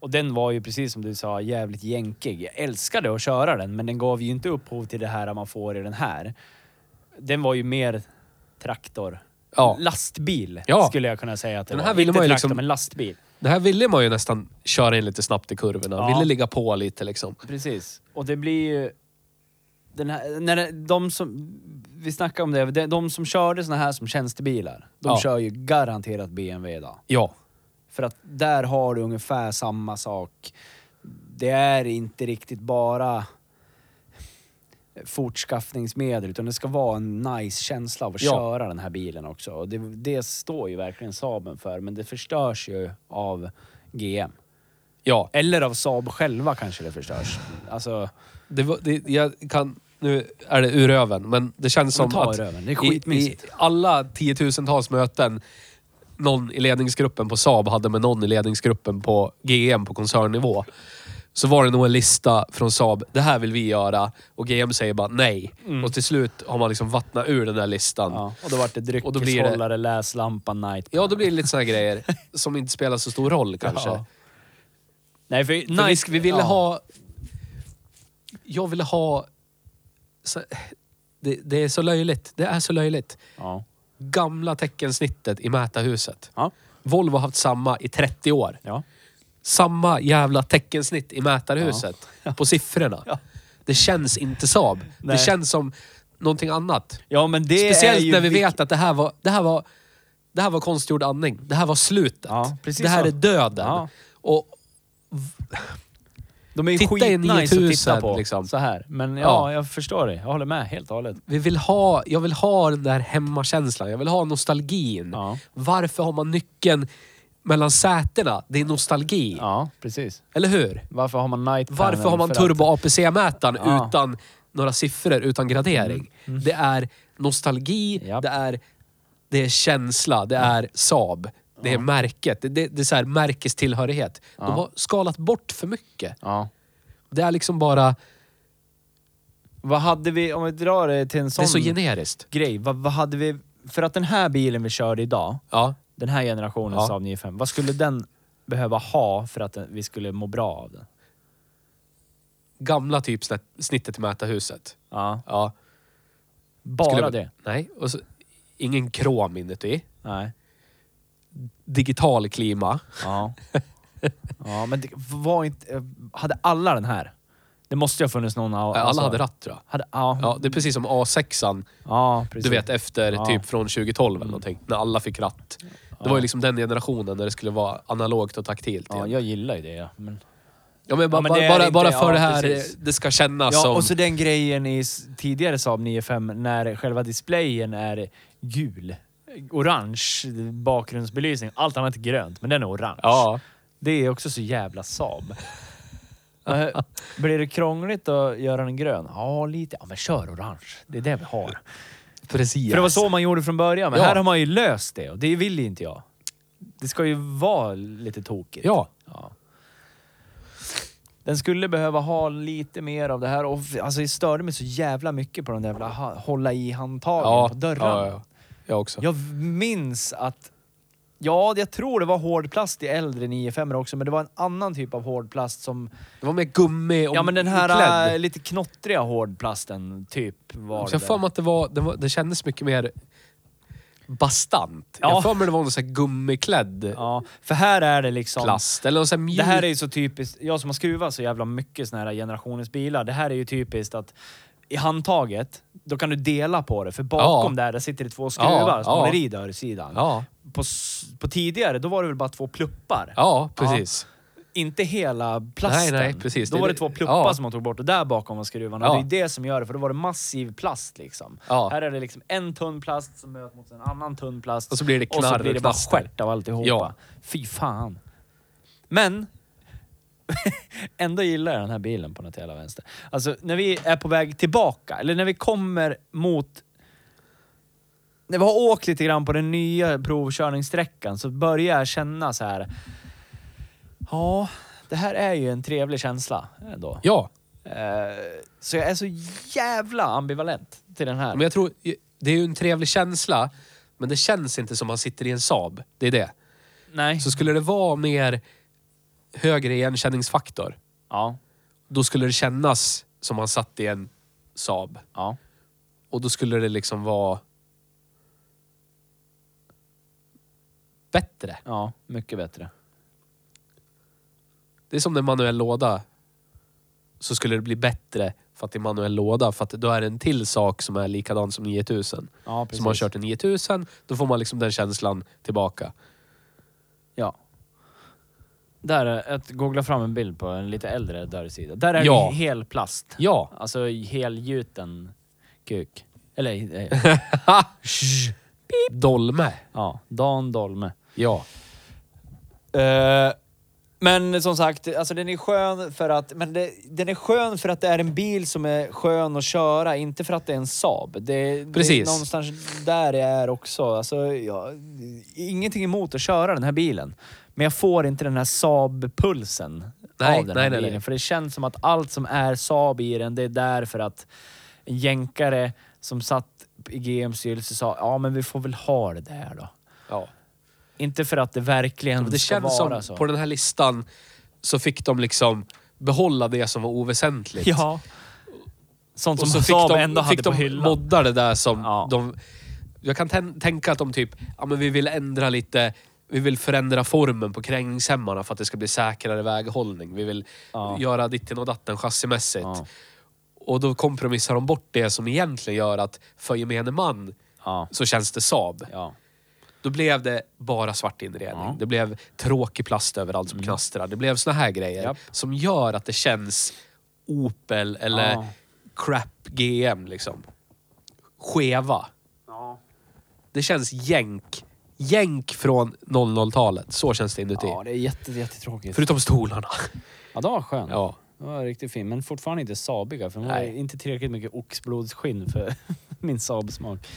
Och den var ju precis som du sa, jävligt jänkig. Jag älskade att köra den, men den gav ju inte upphov till det här man får i den här. Den var ju mer traktor. Ja. Lastbil Ja. skulle jag kunna säga att det Den var. här ville inte man ju traktor, liksom- men lastbil. Det här ville man ju nästan köra in lite snabbt i kurvorna. Ja. Ville ligga på lite liksom. Precis. Och det blir ju... Den här, när det, de som... Vi snackade om det, de- de som körde såna här som tjänstebilar, de Ja. kör ju garanterat BMW idag. Ja. För att där har du ungefär samma sak. Det är inte riktigt bara fortskaffningsmedel utan det ska vara en nice känsla av att Ja. köra den här bilen också. Och det, det står ju verkligen Saaben för men det förstörs ju av GM. Ja. Eller av Saab själva kanske det förstörs. Alltså, Det var, det, jag kan, nu är det ur röven, men det känns Men som ta att ur röven, det är i, i skitmysigt. alla tiotusentals möten någon i ledningsgruppen på Saab hade med någon i ledningsgruppen på GM på koncernnivå. Så var det nog en lista från Saab. Det här vill vi göra. Och GM säger bara nej. Och till slut har man liksom vattnat ur den där listan. Mm. ja. Och då vart det Och då blir det- dryckeshållare, läslampa, night. Ja, då blir det lite såna här grejer som inte spelar så stor roll kanske. Ja. Nej, för, För night- vi, vi ville ja. ha... Jag ville ha... Så, det, det är så löjligt. Det är så löjligt. Ja. Gamla teckensnittet i Mätarhuset. Ja. Volvo har haft samma i 30 år. Ja. Samma jävla teckensnitt i Mätarhuset. På siffrorna. Det känns inte Saab. Nej. Det känns som någonting annat. ja, men det är Speciellt ju när vi vik- vet att det här var, det här var, det här var konstgjord andning. Det här var slutet. Ja, precis det här så. är döden. Ja. Och, De är ju Titta i skitnice att titta 9000, på. liksom. Så här. Men ja, Ja. jag förstår dig. Jag håller med helt och hållet. Vi vill ha, jag vill ha den där hemmakänslan. Jag vill ha nostalgin. Ja. Varför har man nyckeln mellan sätena? Det är nostalgi. Ja, precis. Eller hur? Varför har man night Varför har man för turbo-APC-mätaren Ja. Mm. utan några siffror, utan gradering? Det är nostalgi, Japp. det, är, det är känsla, det är Saab. Det är märket. Det, det, det är så här märkestillhörighet. De har skalat bort för mycket. Att, ja. Det är liksom bara... Vad hade vi, om vi drar det till en Det är sån så generiskt. grej. Vad, vad hade vi, för att den här bilen vi körde idag, Ja. den här generationen Ja. Saab 95, vad skulle den behöva ha för att den, vi skulle må bra av den? Gamla typ typsnittet i mätarhuset. Ja. Ja. Bara Skulle- det. Nej. Och så, ingen krom inuti. Nej. Digital klima. Ja. ja, men det var inte... Hade alla den här? Det måste ju ha funnits någon... av- Alla alltså- hade ratt tror jag. Hade, ja, Ja, det är precis som A6an. ja, precis. Du vet efter Ja. Mm. typ från 2012 eller någonting. När alla fick ratt. Det var ju liksom den generationen när det skulle vara analogt och taktilt. Ja, igen. jag gillar ju det. Ja. Men, Ja, men bara, men det är bara, inte- bara för ja, det här, precis. eh, det ska kännas ja, som... och så den grejen i s- tidigare Saab 95 när själva displayen är gul. Orange bakgrundsbelysning. Allt annat är grönt, men den är orange. ja. Det är också så jävla Saab. Eh, Blir det krångligt att göra den grön? Ja, lite. Ja, men kör orange. Det är det vi har. Precis. För det var så man gjorde från början, men Ja. här har man ju löst det och det vill ju inte jag. Det ska ju vara lite tokigt. Ja. Ja. Den skulle behöva ha lite mer av det här. Och, f- alltså, det störde mig så jävla mycket på de där jävla ha- hålla i handtagen Ja, på dörren. ja, ja. Jag också. Jag minns att... Ja, jag tror det var hård plast i äldre 95 också, men det var en annan typ av hård plast som... Det var med gummi och Ja, men den här klädd. äh, lite knottriga hårdplasten typ var Så jag det. för mig att det var, det var, det kändes mycket mer bastant. Ja. Jag för mig det var någon sån här gummiklädd Ja, för här är det liksom... plast. Eller någon sån här mjuk... Det här är ju så typiskt, jag som har skruvat så jävla mycket såna här generationens bilar. Det här är ju typiskt att i handtaget, då kan du dela på det. För bakom där, där sitter det två skruvar Ja, som ja. håller i dörrsidan. Ja, På, s- på tidigare, då var det väl bara två pluppar? ja precis. Inte hela plasten. Nej, nej, precis. Då Det- var det- det två pluppar ja. som man tog bort och där bakom var skruvarna. Ja. Och det är det som gör det, för då var det massiv plast liksom. Ja. Här är det liksom en tunn plast som möter mot en annan tunn plast. Och så blir det Och knarr så blir och det bara knaster. stjärt av alltihopa. Ja. Fy fan. Men... Ändå gillar jag den här bilen på något jävla vänster. Alltså när vi är på väg tillbaka, eller när vi kommer mot... När vi har åkt lite grann på den nya provkörningssträckan så börjar jag känna så här. Ja, det här är ju en trevlig känsla ändå. Ja, Eh, så jag är så jävla ambivalent till den här. men jag tror... Det är ju en trevlig känsla, men det känns inte som man sitter i en Saab. Det är det. Nej. Så skulle det vara mer högre igenkänningsfaktor, Ja. då skulle det kännas som man satt i en Saab. Ja. Och då skulle det liksom vara... Bättre. Ja, mycket bättre. Det är som en manuell låda. Så skulle det bli bättre för att det är manuell låda. För att då är det en till sak som är likadan som 9000. Ja, Som har kört en 9000, då får man liksom den känslan tillbaka. Ja. Där, är att googla fram en bild på en lite äldre dörrsida. Där är Ja. det hel plast. Ja, Alltså helgjuten kuk. Eller... eh, Sh. dolme. ja, Dan Dolme. Ja. Eh, men som sagt, alltså den är skön för att... Men det, den är skön för att det är en bil som är skön att köra, inte för att det är en Saab. Det, det är Precis. någonstans där jag är också. Alltså, jag, ingenting emot att köra den här bilen. Men jag får inte den här Saab-pulsen Nej, av den nej, här nej, bilen. nej. För det känns som att allt som är Saab i den, det är där för att en jänkare som satt i GMs styrelse sa ja men vi får väl ha det där då. ja. Inte för att det verkligen Det ska känns vara som, så. på den här listan, så fick de liksom behålla det som var oväsentligt. Ja. Sånt Och som så fick Saab de, ändå hade fick på de hyllan. modda det där som Ja. de... Jag kan tän- tänka att de typ, ja men vi vill ändra lite, vi vill förändra formen på krängningshämmarna för att det ska bli säkrare väghållning. Vi vill Ja. göra ditten och datten chassimässigt. Ja. Och då kompromissar de bort det som egentligen gör att för gemene man Ja. så känns det Saab. Ja. Då blev det bara svart inredning. Det blev tråkig plast överallt som knastrar. Det blev såna här Mm. grejer Japp. som gör att det känns Opel eller Ja. crap GM liksom. Skeva. Det känns jänk. Jänk från 00-talet. Så känns det inuti. ja, det är jätte, jättetråkigt. Förutom stolarna. Ja, den var skön. Ja. Den var riktigt fin, men fortfarande inte Saabiga för den har Nej. inte tillräckligt mycket oxblodsskinn för min Saab-smak.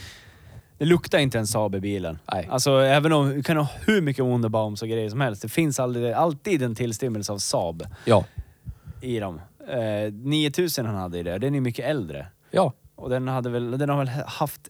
Det luktar inte en Saab i bilen. Nej. Alltså, även om du kan ha hur mycket Wunderbaums och grejer som helst, det finns aldrig, alltid en tillstymmelse av Saab Ja. i dem. Eh, 9000 han hade i det, den är mycket äldre. Ja. Och den, hade väl, den har väl haft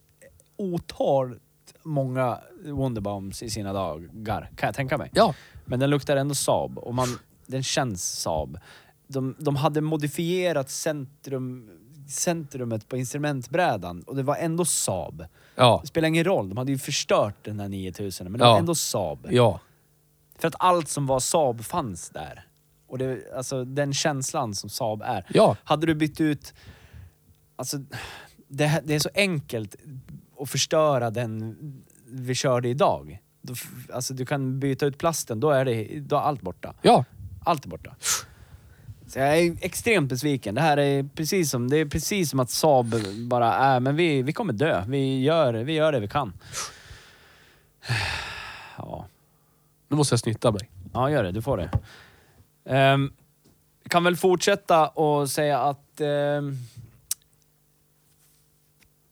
otalt många Wonderbombs i sina dagar, kan jag tänka mig. Ja. Men den luktar ändå Saab och man, den känns Saab. De, de hade modifierat centrum centrumet på instrumentbrädan och det var ändå Saab. Ja. Det spelar ingen roll, de hade ju förstört den här 9000 men det var Ja. ändå Saab. Ja. För att allt som var Saab fanns där. Och det, alltså den känslan som Saab är. Ja. Hade du bytt ut... Alltså, det, här- det är så enkelt att förstöra den vi körde idag. Då, f- alltså du kan byta ut plasten, då är, det, då är allt borta. Ja. Allt är borta. Så jag är extremt besviken. Det här är precis som, det är precis som att Saab bara är, men vi, vi kommer dö. Vi gör, vi gör det vi kan. Ja. Nu måste jag snyta mig. Ja, gör det. Du får det. Ehm, kan väl fortsätta och säga att ehm,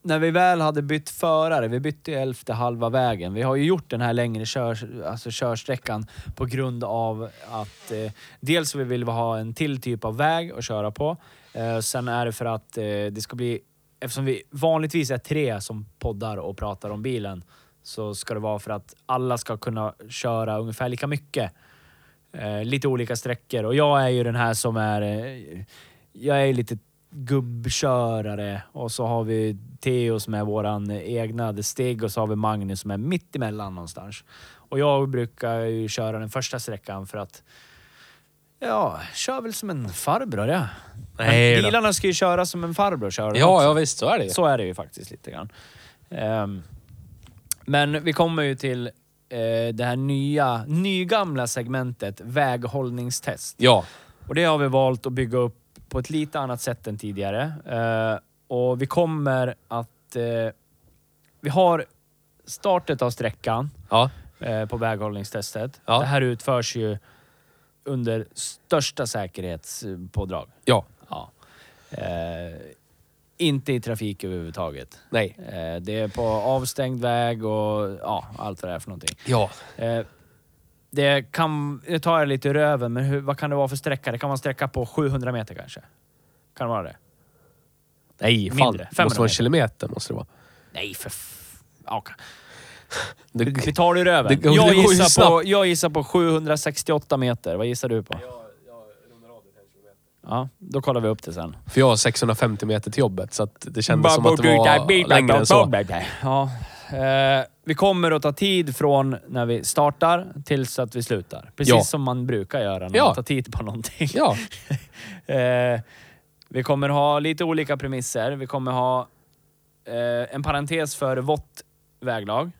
när vi väl hade bytt förare, vi bytte ju elfte halva vägen. Vi har ju gjort den här längre kör, alltså körsträckan på grund av att eh, dels vi vill ha en till typ av väg att köra på. Eh, sen är det för att eh, det ska bli, eftersom vi vanligtvis är tre som poddar och pratar om bilen, så ska det vara för att alla ska kunna köra ungefär lika mycket. Eh, lite olika sträckor och jag är ju den här som är... Eh, jag är lite gubbkörare och så har vi Theo som är våran egna The Stig och så har vi Magnus som är mitt emellan någonstans. Och jag brukar ju köra den första sträckan för att... Ja, kör väl som en farbror ja. Men Nej då. bilarna ska ju köra som en farbror kör de Ja, också. ja visst. Så är det ju. Så är det ju faktiskt lite grann. Ehm, men vi kommer ju till eh, det här nya, nygamla segmentet väghållningstest. Ja. Och det har vi valt att bygga upp på ett lite annat sätt än tidigare. Eh, och vi kommer att... Eh, vi har startet av sträckan Ja. eh, på väghållningstestet. Ja. Det här utförs ju under största säkerhetspådrag. Ja. Ja. Eh, inte i trafik överhuvudtaget. Nej. Eh, det är på avstängd väg och ja, allt vad det är för någonting. Ja. Eh, det kan... Nu tar jag lite ur röven, men hur, vad kan det vara för sträcka? Det kan vara en sträcka på 700 meter kanske? Kan det vara det? Nej, fan. fan. Det måste 500 vara en meter. kilometer. Måste det vara. Nej, för... F- ja, okej. Det, Vi tar det ur röven. Det- det går jag, ju gissar på, snabbt. jag gissar på 768 meter. Vad gissar du på? Ja, då kollar vi upp det sen. för jag har 650 meter till jobbet, så att det kändes som att det var längre än så. Ja. Eh, vi kommer att ta tid från när vi startar tills att vi slutar. Precis Ja. som man brukar göra när Ja. man tar tid på någonting. Ja. Eh, vi kommer ha lite olika premisser. Vi kommer ha eh, en parentes för vått väglag.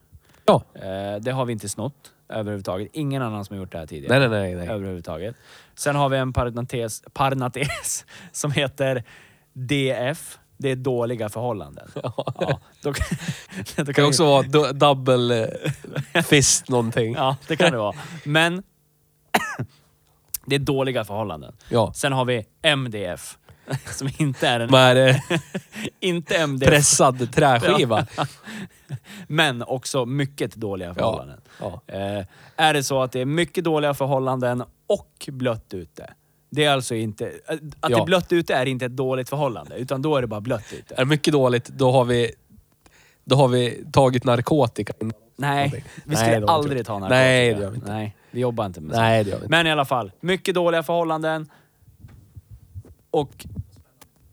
Ja. Eh, det har vi inte snott överhuvudtaget. Ingen annan som har gjort det här tidigare Nej, nej, nej. nej. överhuvudtaget. Sen har vi en parentes, parnates som heter DF. Det är dåliga förhållanden. Ja, då, då kan Det kan vi- också vara du- double eh, fist någonting. Ja, det kan det vara. Men det är dåliga förhållanden. Ja. Sen har vi MDF som inte är en... Med eh, inte MDF, pressad träskiva. men också mycket dåliga Ja. förhållanden. ja. Eh, är det så att det är mycket dåliga förhållanden och blött ute. Det är alltså inte... Att det är Ja. blött ute är inte ett dåligt förhållande, utan då är det bara blött ute. Är det mycket dåligt, då har vi, då har vi tagit narkotika. Nej, vi skulle Nej, det har vi aldrig inte. ta narkotika. Nej, det gör vi inte. Nej, vi jobbar inte med Nej, det gör vi sånt. inte. Men i alla fall, mycket dåliga förhållanden och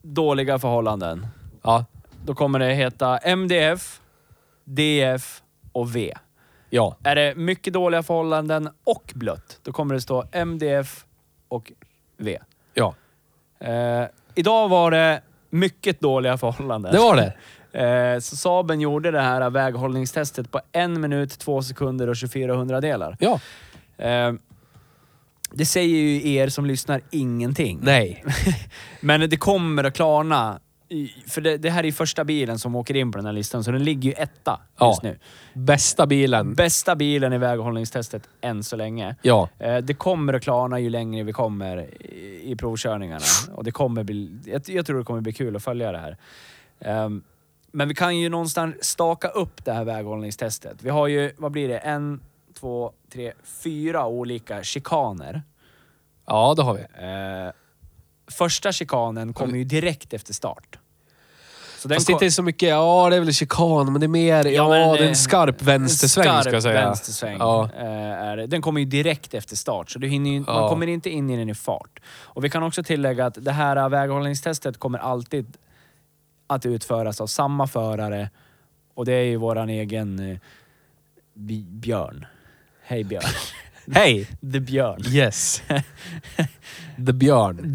dåliga förhållanden. Ja. Då kommer det heta MDF, DF och V. Ja. Är det mycket dåliga förhållanden och blött, då kommer det stå MDF och V. Ja. Eh, idag var det mycket dåliga förhållanden. Det var det. Eh, så Saben gjorde det här väghållningstestet på en minut, två sekunder och 24 hundradelar. Ja. Eh, det säger ju er som lyssnar ingenting. Nej. Men det kommer att klarna. I- För det, det här är första bilen som åker in på den här listan, så den ligger ju etta just Ja. nu. Bästa bilen. Bästa bilen i väghållningstestet än så länge. Ja. Eh, Det kommer att klarna ju längre vi kommer i- i provkörningarna. Och det kommer bli, jag, jag tror det kommer bli kul att följa det här. Ehm, men vi kan ju någonstans staka upp det här väghållningstestet. Vi har ju, vad blir det? En, två, tre, fyra olika chikaner. Ja, det har vi. Eh, första chikanen kommer ju direkt efter start. Så den Fast kom- det inte är så mycket, ja det är väl chikan, men det är mer, ja, men, det är eh, en skarp vänstersväng skarp ska jag säga. vänstersväng. Ja. eh, är det. Den kommer ju direkt efter start, så du hinner ju, man Ja. kommer inte in i den i fart. Och vi kan också tillägga att det här eh, väghållningstestet kommer alltid att utföras av samma förare och det är ju våran egen eh, Bi- Björn. Hej Björn. Hej! The Björn. Yes. The Björn.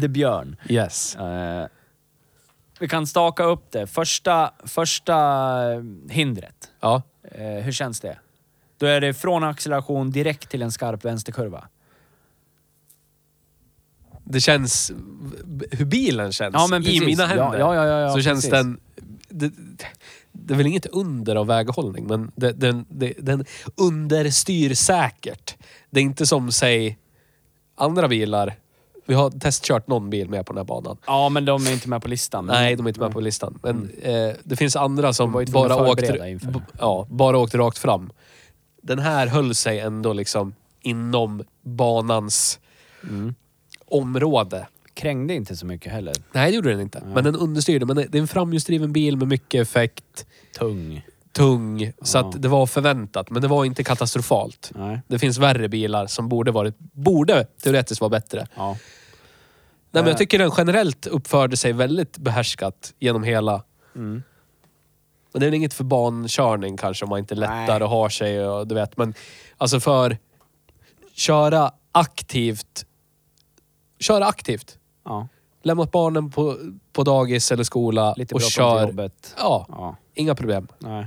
The Björn. Yes. Eh, vi kan staka upp det. Första, första eh, hindret. Ja. Eh, hur känns det? Då är det från acceleration direkt till en skarp vänsterkurva. Det känns... b- Hur bilen känns Ja, men i precis. mina händer. Ja, ja, ja, ja, ja, så känns precis. den... Det, det är väl inget under av väghållning, men det, den, det, den understyr säkert. Det är inte som, säg, andra bilar. Vi har testkört någon bil med på den här banan. Ja, men de är inte med på listan. Men Mm. Nej, de är inte med på listan. Men eh, det finns andra som var ju tvungna bara att åkt, förbereda inför. b- ja, bara åkt rakt fram. Den här höll sig ändå liksom inom banans Mm. område. krängde inte så mycket heller. Nej, det gjorde den inte. Men den understyrde. Men det det är en framhjulsdriven bil med mycket effekt, Tung. tung. Så att det var förväntat, men det var inte katastrofalt. Nej. Det finns värre bilar som borde varit, borde teoretiskt vara bättre. Ja. Nej, Eh. men jag tycker den generellt uppförde sig väldigt behärskat genom hela. Mm. Och det är väl inget för bankörning kanske om man inte lättar Nej. och har sig och du vet. Men alltså för köra aktivt. Köra aktivt. Ja. Lämna barnen på, på dagis eller skola Lite och bråttom kör. till jobbet. Ja, Ja. inga problem. Nej.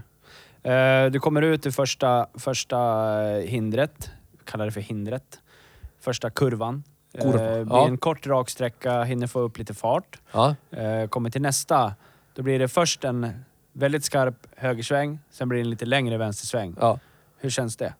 Eh, du kommer ut ur första, första eh, hindret. Vi kallar det för hindret. Första kurvan. Eh, Kurva, blir ja. en kort rak sträcka, hinner få upp lite fart. Ja, Eh, kommer till nästa. Då blir det först en väldigt skarp högersväng, sen blir det en lite längre vänstersväng. ja. Hur känns det?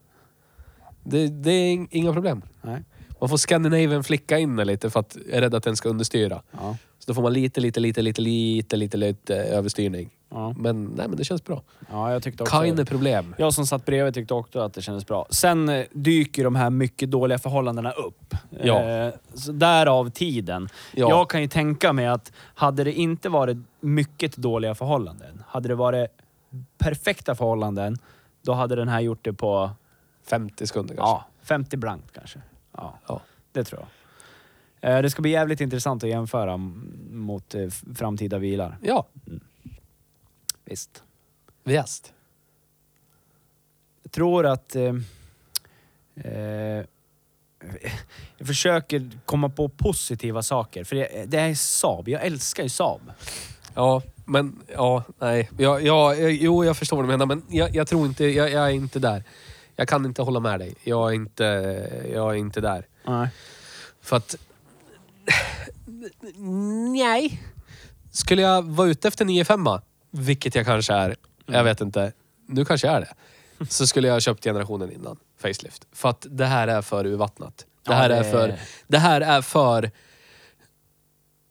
Det, det är ing- inga problem. Nej. Man får Scandinavian flicka in den lite för att jag är rädd att den ska understyra. Ja. Så då får man lite, lite, lite, lite, lite, lite, lite överstyrning. Ja. Men, nej, men det känns bra. ja, jag tyckte också Keine problem. Jag som satt bredvid tyckte också att det kändes bra. Sen eh, dyker de här mycket dåliga förhållandena upp. Ja. Eh, så därav tiden. Ja. Jag kan ju tänka mig att hade det inte varit mycket dåliga förhållanden, hade det varit perfekta förhållanden, då hade den här gjort det på 50 sekunder kanske. ja, 50 blankt kanske. Ja, Ja. det tror jag. Eh, det ska bli jävligt intressant att jämföra m- mot eh, f- framtida bilar. Ja, Visst. visst. Jag tror att... Eh, eh, jag försöker komma på positiva saker, för det, det är Saab. Jag älskar ju Saab. Ja, men ja, nej. Ja, ja, eh, jo, jag förstår vad du menar, men jag, jag tror inte, jag, jag är inte där. Jag kan inte hålla med dig. Jag är inte, jag är inte där. Nej. För att... Nej. Skulle jag vara ute efter 9-5, vilket jag kanske är, jag vet inte, nu kanske jag är det, så skulle jag ha köpt generationen innan facelift. För att det här är för urvattnat. Det Ja, här det- är för... Det här är för...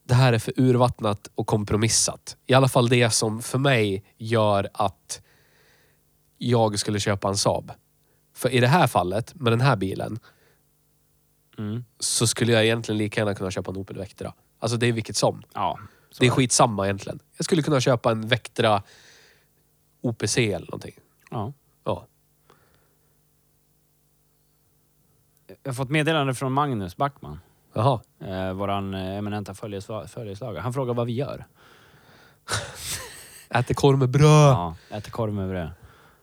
Det här är för urvattnat och kompromissat. I alla fall det som för mig gör att jag skulle köpa en Saab. För i det här fallet, med den här bilen, så skulle jag egentligen lika gärna kunna köpa en Opel Vectra. Alltså det är vilket som. Ja. det är skitsamma egentligen. Jag skulle kunna köpa en Vectra OPC eller någonting. ja. Ja. Jag har fått meddelande från Magnus Backman, Jaha. eh, våran eh, eminenta följes- följeslagare. Han frågar vad vi gör. Äter korv med bröd. Ja, äter korv med bröd.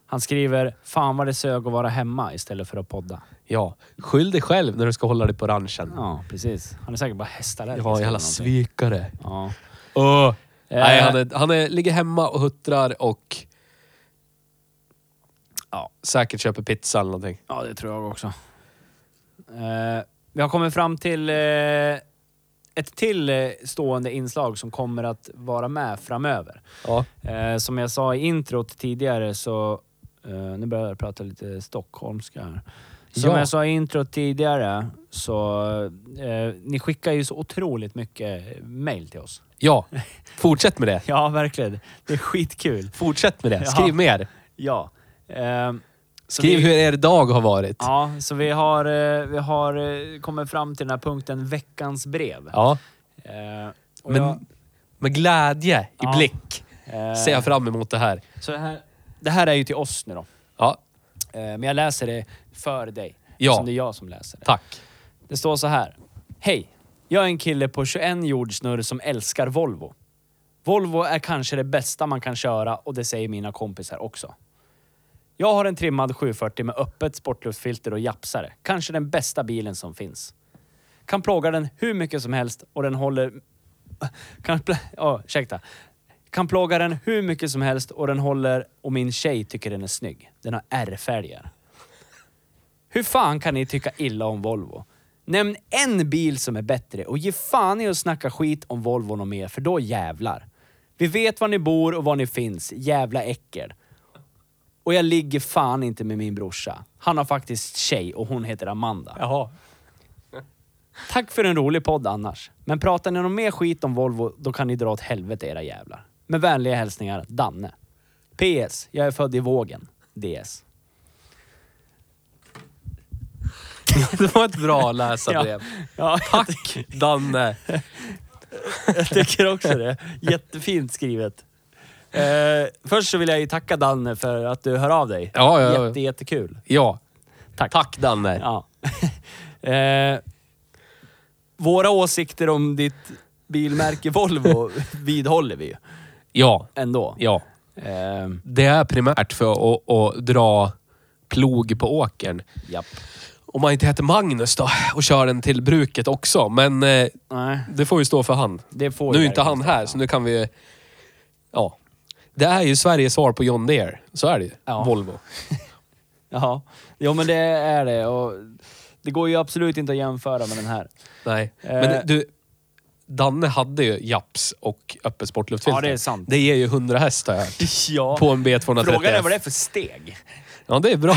Han skriver “Fan vad det sög att vara hemma istället för att podda”. Ja. Skyll dig själv när du ska hålla dig på ranchen. Ja, Ja, precis. Han är säkert bara hästallergisk. eller jävla någonting. svikare. Ja. Åh. Nej, Eh. han, är, han är, ligger hemma och huttrar och Ja. säkert köper pizza eller någonting. Ja, det tror jag också. Eh, vi har kommit fram till eh, ett till eh, stående inslag som kommer att vara med framöver. Ja. Eh, som jag sa i introt tidigare så... Eh, nu börjar jag prata lite stockholmska här. Som Ja. jag sa i introt tidigare så... Eh, ni skickar ju så otroligt mycket mail till oss. ja. Fortsätt med det. Ja, verkligen. Det är skitkul. Fortsätt med det. Skriv Ja. mer. Ja. Ehm, så Skriv vi- hur er dag har varit. Ja. Ja, så vi har, eh, vi har eh, kommit fram till den här punkten, veckans brev. Eh, och Men jag, med glädje i Ja. blick eh, ser jag fram emot det här. så det här, det här är ju till oss nu då. Ja, Eh, men jag läser det för dig. Ja. Som det är jag som läser det. tack. Det står så här. Hej! Jag är en kille på 21 jordsnurr som älskar Volvo. Volvo är kanske det bästa man kan köra och det säger mina kompisar också. Jag har en trimmad 740 med öppet sportluftfilter och japsare. Kanske den bästa bilen som finns. Kan plåga den hur mycket som helst och den håller... Kan, pl- ja, ursäkta. Kan plåga den hur mycket som helst och den håller och min tjej tycker den är snygg. Den har R-fälgar. Hur fan kan ni tycka illa om Volvo? Nämn en bil som är bättre och ge fan i att snacka skit om Volvo och mer, för då jävlar. Vi vet var ni bor och var ni finns. Jävla äckel. Och jag ligger fan inte med min brorsa. Han har faktiskt tjej och hon heter Amanda. Jaha. Tack för en rolig podd annars. Men pratar ni någon mer skit om Volvo, då kan ni dra åt helvete era jävlar. Med vänliga hälsningar, Danne. PS. Jag är född i vågen. DS. Det var ett bra läsarbrev. Ja, Tack Danne! jag tycker också det. Jättefint skrivet. Eh, först så vill jag ju tacka Danne för att du hör av dig. Ja, ja, ja. Jätte, jättekul. Ja. Tack. Tack Danne. Ja. eh, våra åsikter om ditt bilmärke Volvo vidhåller vi ju Ja. ändå. Ja. Ehm, Det är primärt för att, att dra plog på åkern. japp. Om man inte heter Magnus då och kör den till bruket också. Men eh, Nej, det får ju stå för han. det får Nu är ju inte han verkligen här, stå. så nu kan vi... Ja. Det är ju Sveriges svar på John Deere. Så är det ju. Ja. Volvo. Ja, jo men det är det. Och det går ju absolut inte att jämföra med den här. Nej. Eh. Men du, Danne hade ju Japs och öppet sportluftfilter. Ja, det är sant. Det ger ju 100 häst har jag hört. Ja. På en B231. Frågan är vad det är för steg. Ja, det är bra.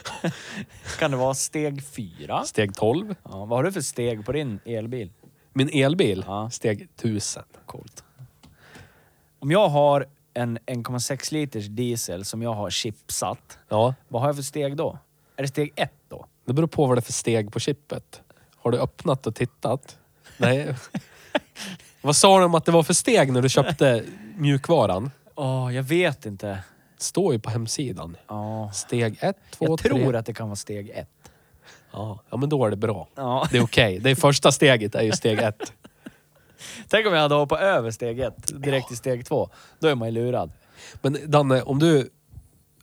Kan det vara steg fyra? Steg 12. Ja, vad har du för steg på din elbil? Min elbil, Ja. steg 1000. Coolt. Om jag har en 1,6 liters diesel som jag har chipsat, Ja, vad har jag för steg då? Är det steg ett då? det beror på vad det är för steg på chippet. Har du öppnat och tittat? Nej. vad sa de om att det var för steg när du köpte mjukvaran? Åh, jag vet inte. Det står ju på hemsidan. Ja. Steg 1, 2, 3. Jag tror att det kan vara steg ett. Ja, ja, men då är det bra. Ja. Det är okej. Det är första steget är ju steg 1. Tänk om jag hade hoppat över steg ett direkt till steg två. Då är man ju lurad. Men Danne, om du,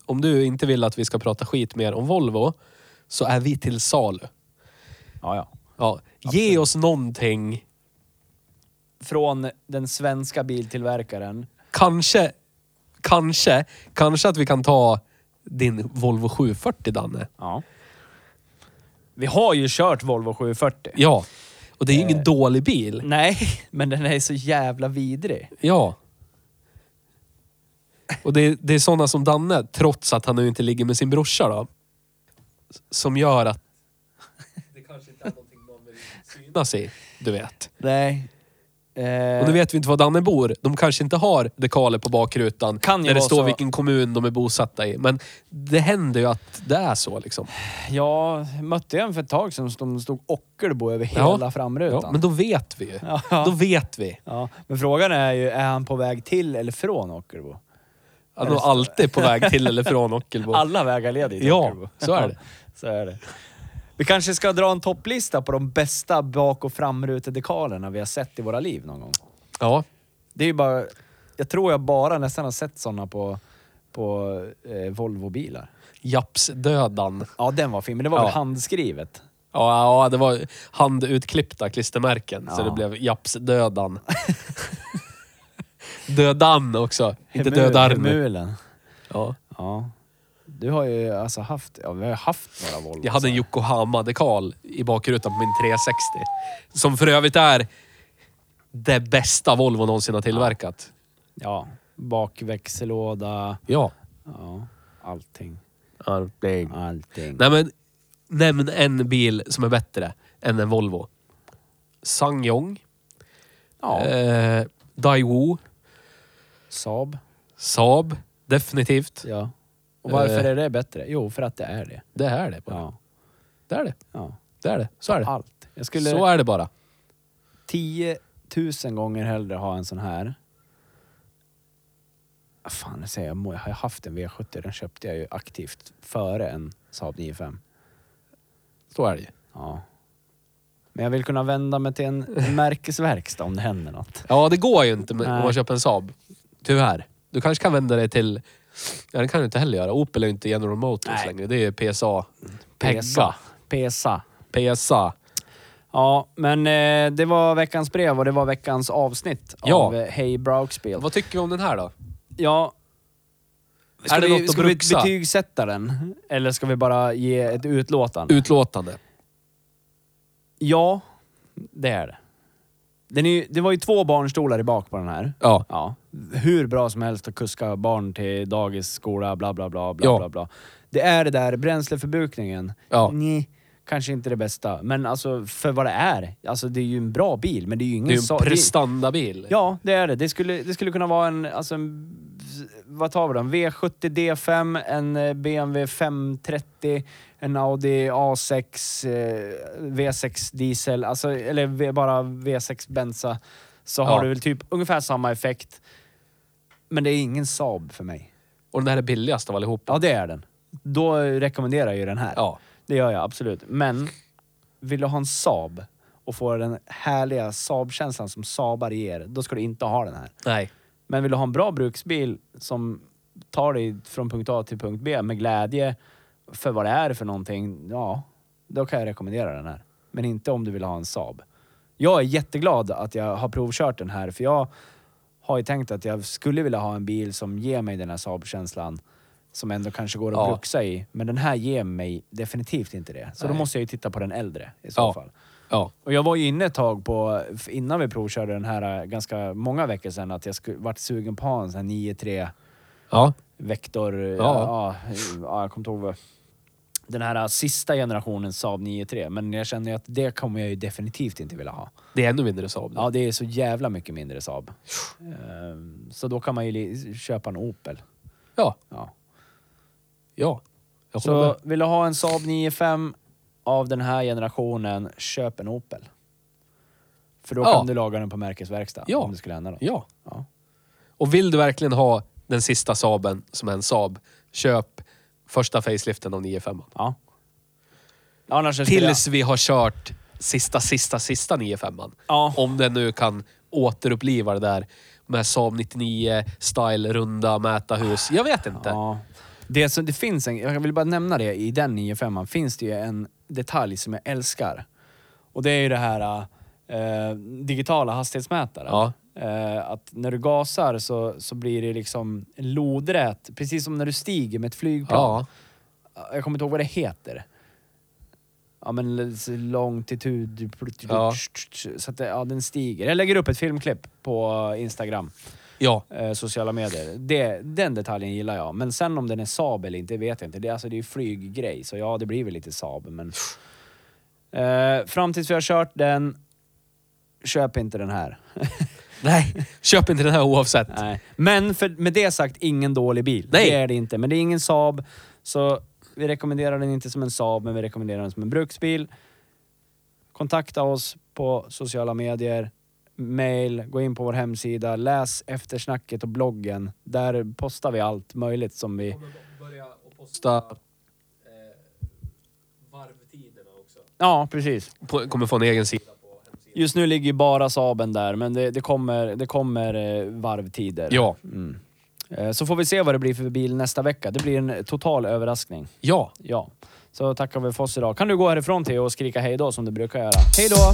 om du inte vill att vi ska prata skit mer om Volvo så är vi till salu. Ja, ja. Ja, ge oss någonting. Från den svenska biltillverkaren. Kanske, kanske, kanske att vi kan ta din Volvo 740 Danne. Ja. Vi har ju kört Volvo 740. Ja. Och det är ju ingen dålig bil. Nej, men den är så jävla vidrig. Ja. Och det är, det är sådana som Danne, trots att han nu inte ligger med sin brorsa då. Som gör att... Det kanske inte är någonting man vill synas i, du vet. Nej. Eh, Och nu vet vi inte var Danne bor. De kanske inte har dekaler på bakrutan Kan ju där det vara står så. vilken kommun de är bosatta i. Men det händer ju att det är så liksom. Jag mötte en för ett tag sedan som stod Ockelbo över Ja. hela framrutan. Ja, men då vet vi ju. Ja. Då vet vi. Ja, men frågan är ju, är han på väg till eller från Ockelbo? Att de alltid är på väg till eller från Ockelbo. Alla vägar leder till Ja, Ockelbo. så är det. så är det. Vi kanske ska dra en topplista på de bästa bak och framrutedekalerna vi har sett i våra liv någon gång. Ja. Det är ju bara... Jag tror jag bara nästan har sett sådana på, på eh, Volvo-bilar. Japsdödan. Ja, den var fin, men det var Ja. väl handskrivet? Ja, ja, det var handutklippta klistermärken. Så Ja. det blev japsdödan. dödan också. Inte Hemul- dödarn. Hemulen. Ja. Ja. Du har ju alltså haft... Ja, vi har ju haft några Volvo. Jag hade en Yokohama-dekal i bakrutan på min 360. Som för övrigt är det bästa Volvo någonsin har tillverkat. Ja. Bakväxellåda. Ja. Ja. Allting. Allting. Allting. Nej men, nämn en bil som är bättre än en Volvo. Sangyong, Ja. eh, Daewoo, Saab. Saab. Definitivt. Ja. Och varför Eh. är det bättre? Jo, för att det är det. Det här är det bara. Ja. Det är det. ja. Det är det. Så är det. Allt. Jag skulle Så är det bara. 10 000 gånger hellre ha en sån här. Ah, Fan, jag säger jag. må- Jag har ju haft en V70. Den köpte jag ju aktivt före en Saab 9-5. Så är det ju. Ja. Men jag vill kunna vända mig till en märkesverkstad om det händer något. Ja, det går ju inte med, om Nej. man köper en Saab. Tyvärr. Du kanske kan vända dig till... Ja, det kan du inte heller göra. Opel är ju inte General Motors Nej. längre. Det är ju PSA. Pegga. PSA. PSA. PSA. Ja, men eh, det var veckans brev och det var veckans avsnitt Ja. av eh, Hej Braukspel. Vad tycker vi om den här då? Ja. Ska Är det vi, något att ska vi bruxa? betygsätta den? Eller ska vi bara ge ett utlåtande? Utlåtande. ja, det är det. Den är, ju- det var ju två barnstolar i bak på den här. Ja. Ja. Hur bra som helst att kuska barn till dagis, skola, bla bla bla. bla, Ja. bla, bla. Det är det där bränsleförbrukningen. Ja. Nej, kanske inte det bästa. Men alltså för vad det är. Alltså det är ju en bra bil, men det är ju ingen... Det är ju sa- en det är- prestandabil. Ja, det är det. Det skulle, det skulle kunna vara en, alltså en... Vad tar vi då? En V70 D5, en eh, BMW 530, en Audi A6, eh, V6 diesel, alltså, eller v, bara V6 bensa. Så Ja. har du väl typ ungefär samma effekt. Men det är ingen Saab för mig. Och den här är billigast av allihop. Ja, det är den. Då rekommenderar jag ju den här. Ja. Det gör jag absolut. Men vill du ha en Saab och få den härliga Saab-känslan som Saabar ger, då ska du inte ha den här. Nej. Men vill du ha en bra bruksbil som tar dig från punkt A till punkt B med glädje för vad det är för någonting, ja, då kan jag rekommendera den här. Men inte om du vill ha en Saab. Jag är jätteglad att jag har provkört den här, för jag har ju tänkt att jag skulle vilja ha en bil som ger mig den här Saab-känslan som ändå kanske går att Ja. bruxa i. Men den här ger mig definitivt inte det. Så då Nej. måste jag ju titta på den äldre i så Ja. fall. Ja. Och jag var ju inne ett tag på, f- innan vi provkörde den här eh, ganska många veckor sedan, att jag skulle, vart sugen på att ha en sån här 9-3 Ja. Vektor... Ja. Ja. Ja, ja, jag kommer inte ihåg vad... Den här eh, sista generationen Saab 9-3, men jag känner ju att det kommer jag ju definitivt inte vilja ha. Det är ännu mindre Saab. Ja, det är så jävla mycket mindre Saab. Ehm, Så då kan man ju li- köpa en Opel. Ja. Ja. Ja. Jag håller med. Så vill du ha en Saab 9-5 av den här generationen, köp en Opel. För då Ja. kan du laga den på märkesverkstad Ja. om det skulle hända något. Ja. Ja. Och vill du verkligen ha den sista Saaben som är en Saab, köp första faceliften av 95 Ja. Annars så skulle Tills vi har kört sista, sista, sista 95 Ja. Om den nu kan återuppliva det där med Saab 99, style, runda, mätarhus. Jag vet inte. jag, ja. det, som, det finns en, jag vill bara nämna det, i den 9-5 finns det ju en detalj som jag älskar. Och det är ju det här eh, digitala hastighetsmätaren. Ja. Eh, att när du gasar så, så blir det liksom lodrätt, precis som när du stiger med ett flygplan. Ja. jag kommer inte ihåg vad det heter. Ja men l- s- longtitud... Ja. Så att det, ja, den stiger. Jag lägger upp ett filmklipp på Instagram, ja. eh, sociala medier. Det, den detaljen gillar jag. Men sen om den är Saab eller inte vet jag inte. Det, är- alltså, det är ju flyggrej, så ja det blir väl lite Saab. Men... Eh, fram tills vi har kört den, köp inte den här. Nej, köp inte den här oavsett. Nej. Men för, med det sagt, ingen dålig bil. Nej. Det är det inte. Men det är ingen Saab, så vi rekommenderar den inte som en Saab, men vi rekommenderar den som en bruksbil. Kontakta oss på sociala medier, mail, gå in på vår hemsida, läs eftersnacket och bloggen. Där postar vi allt möjligt som vi... Posta eh, varvtiderna också. Ja, precis. Kommer få en egen sida. Just nu ligger ju bara Saaben där, men det, det, kommer, det kommer eh, varvtider. Ja. Mm. Eh, Så får vi se vad det blir för bil nästa vecka. Det blir en total överraskning. Ja. Ja. Så tackar vi för oss idag. Kan du gå härifrån Theo och skrika hej då som du brukar göra? Hej då!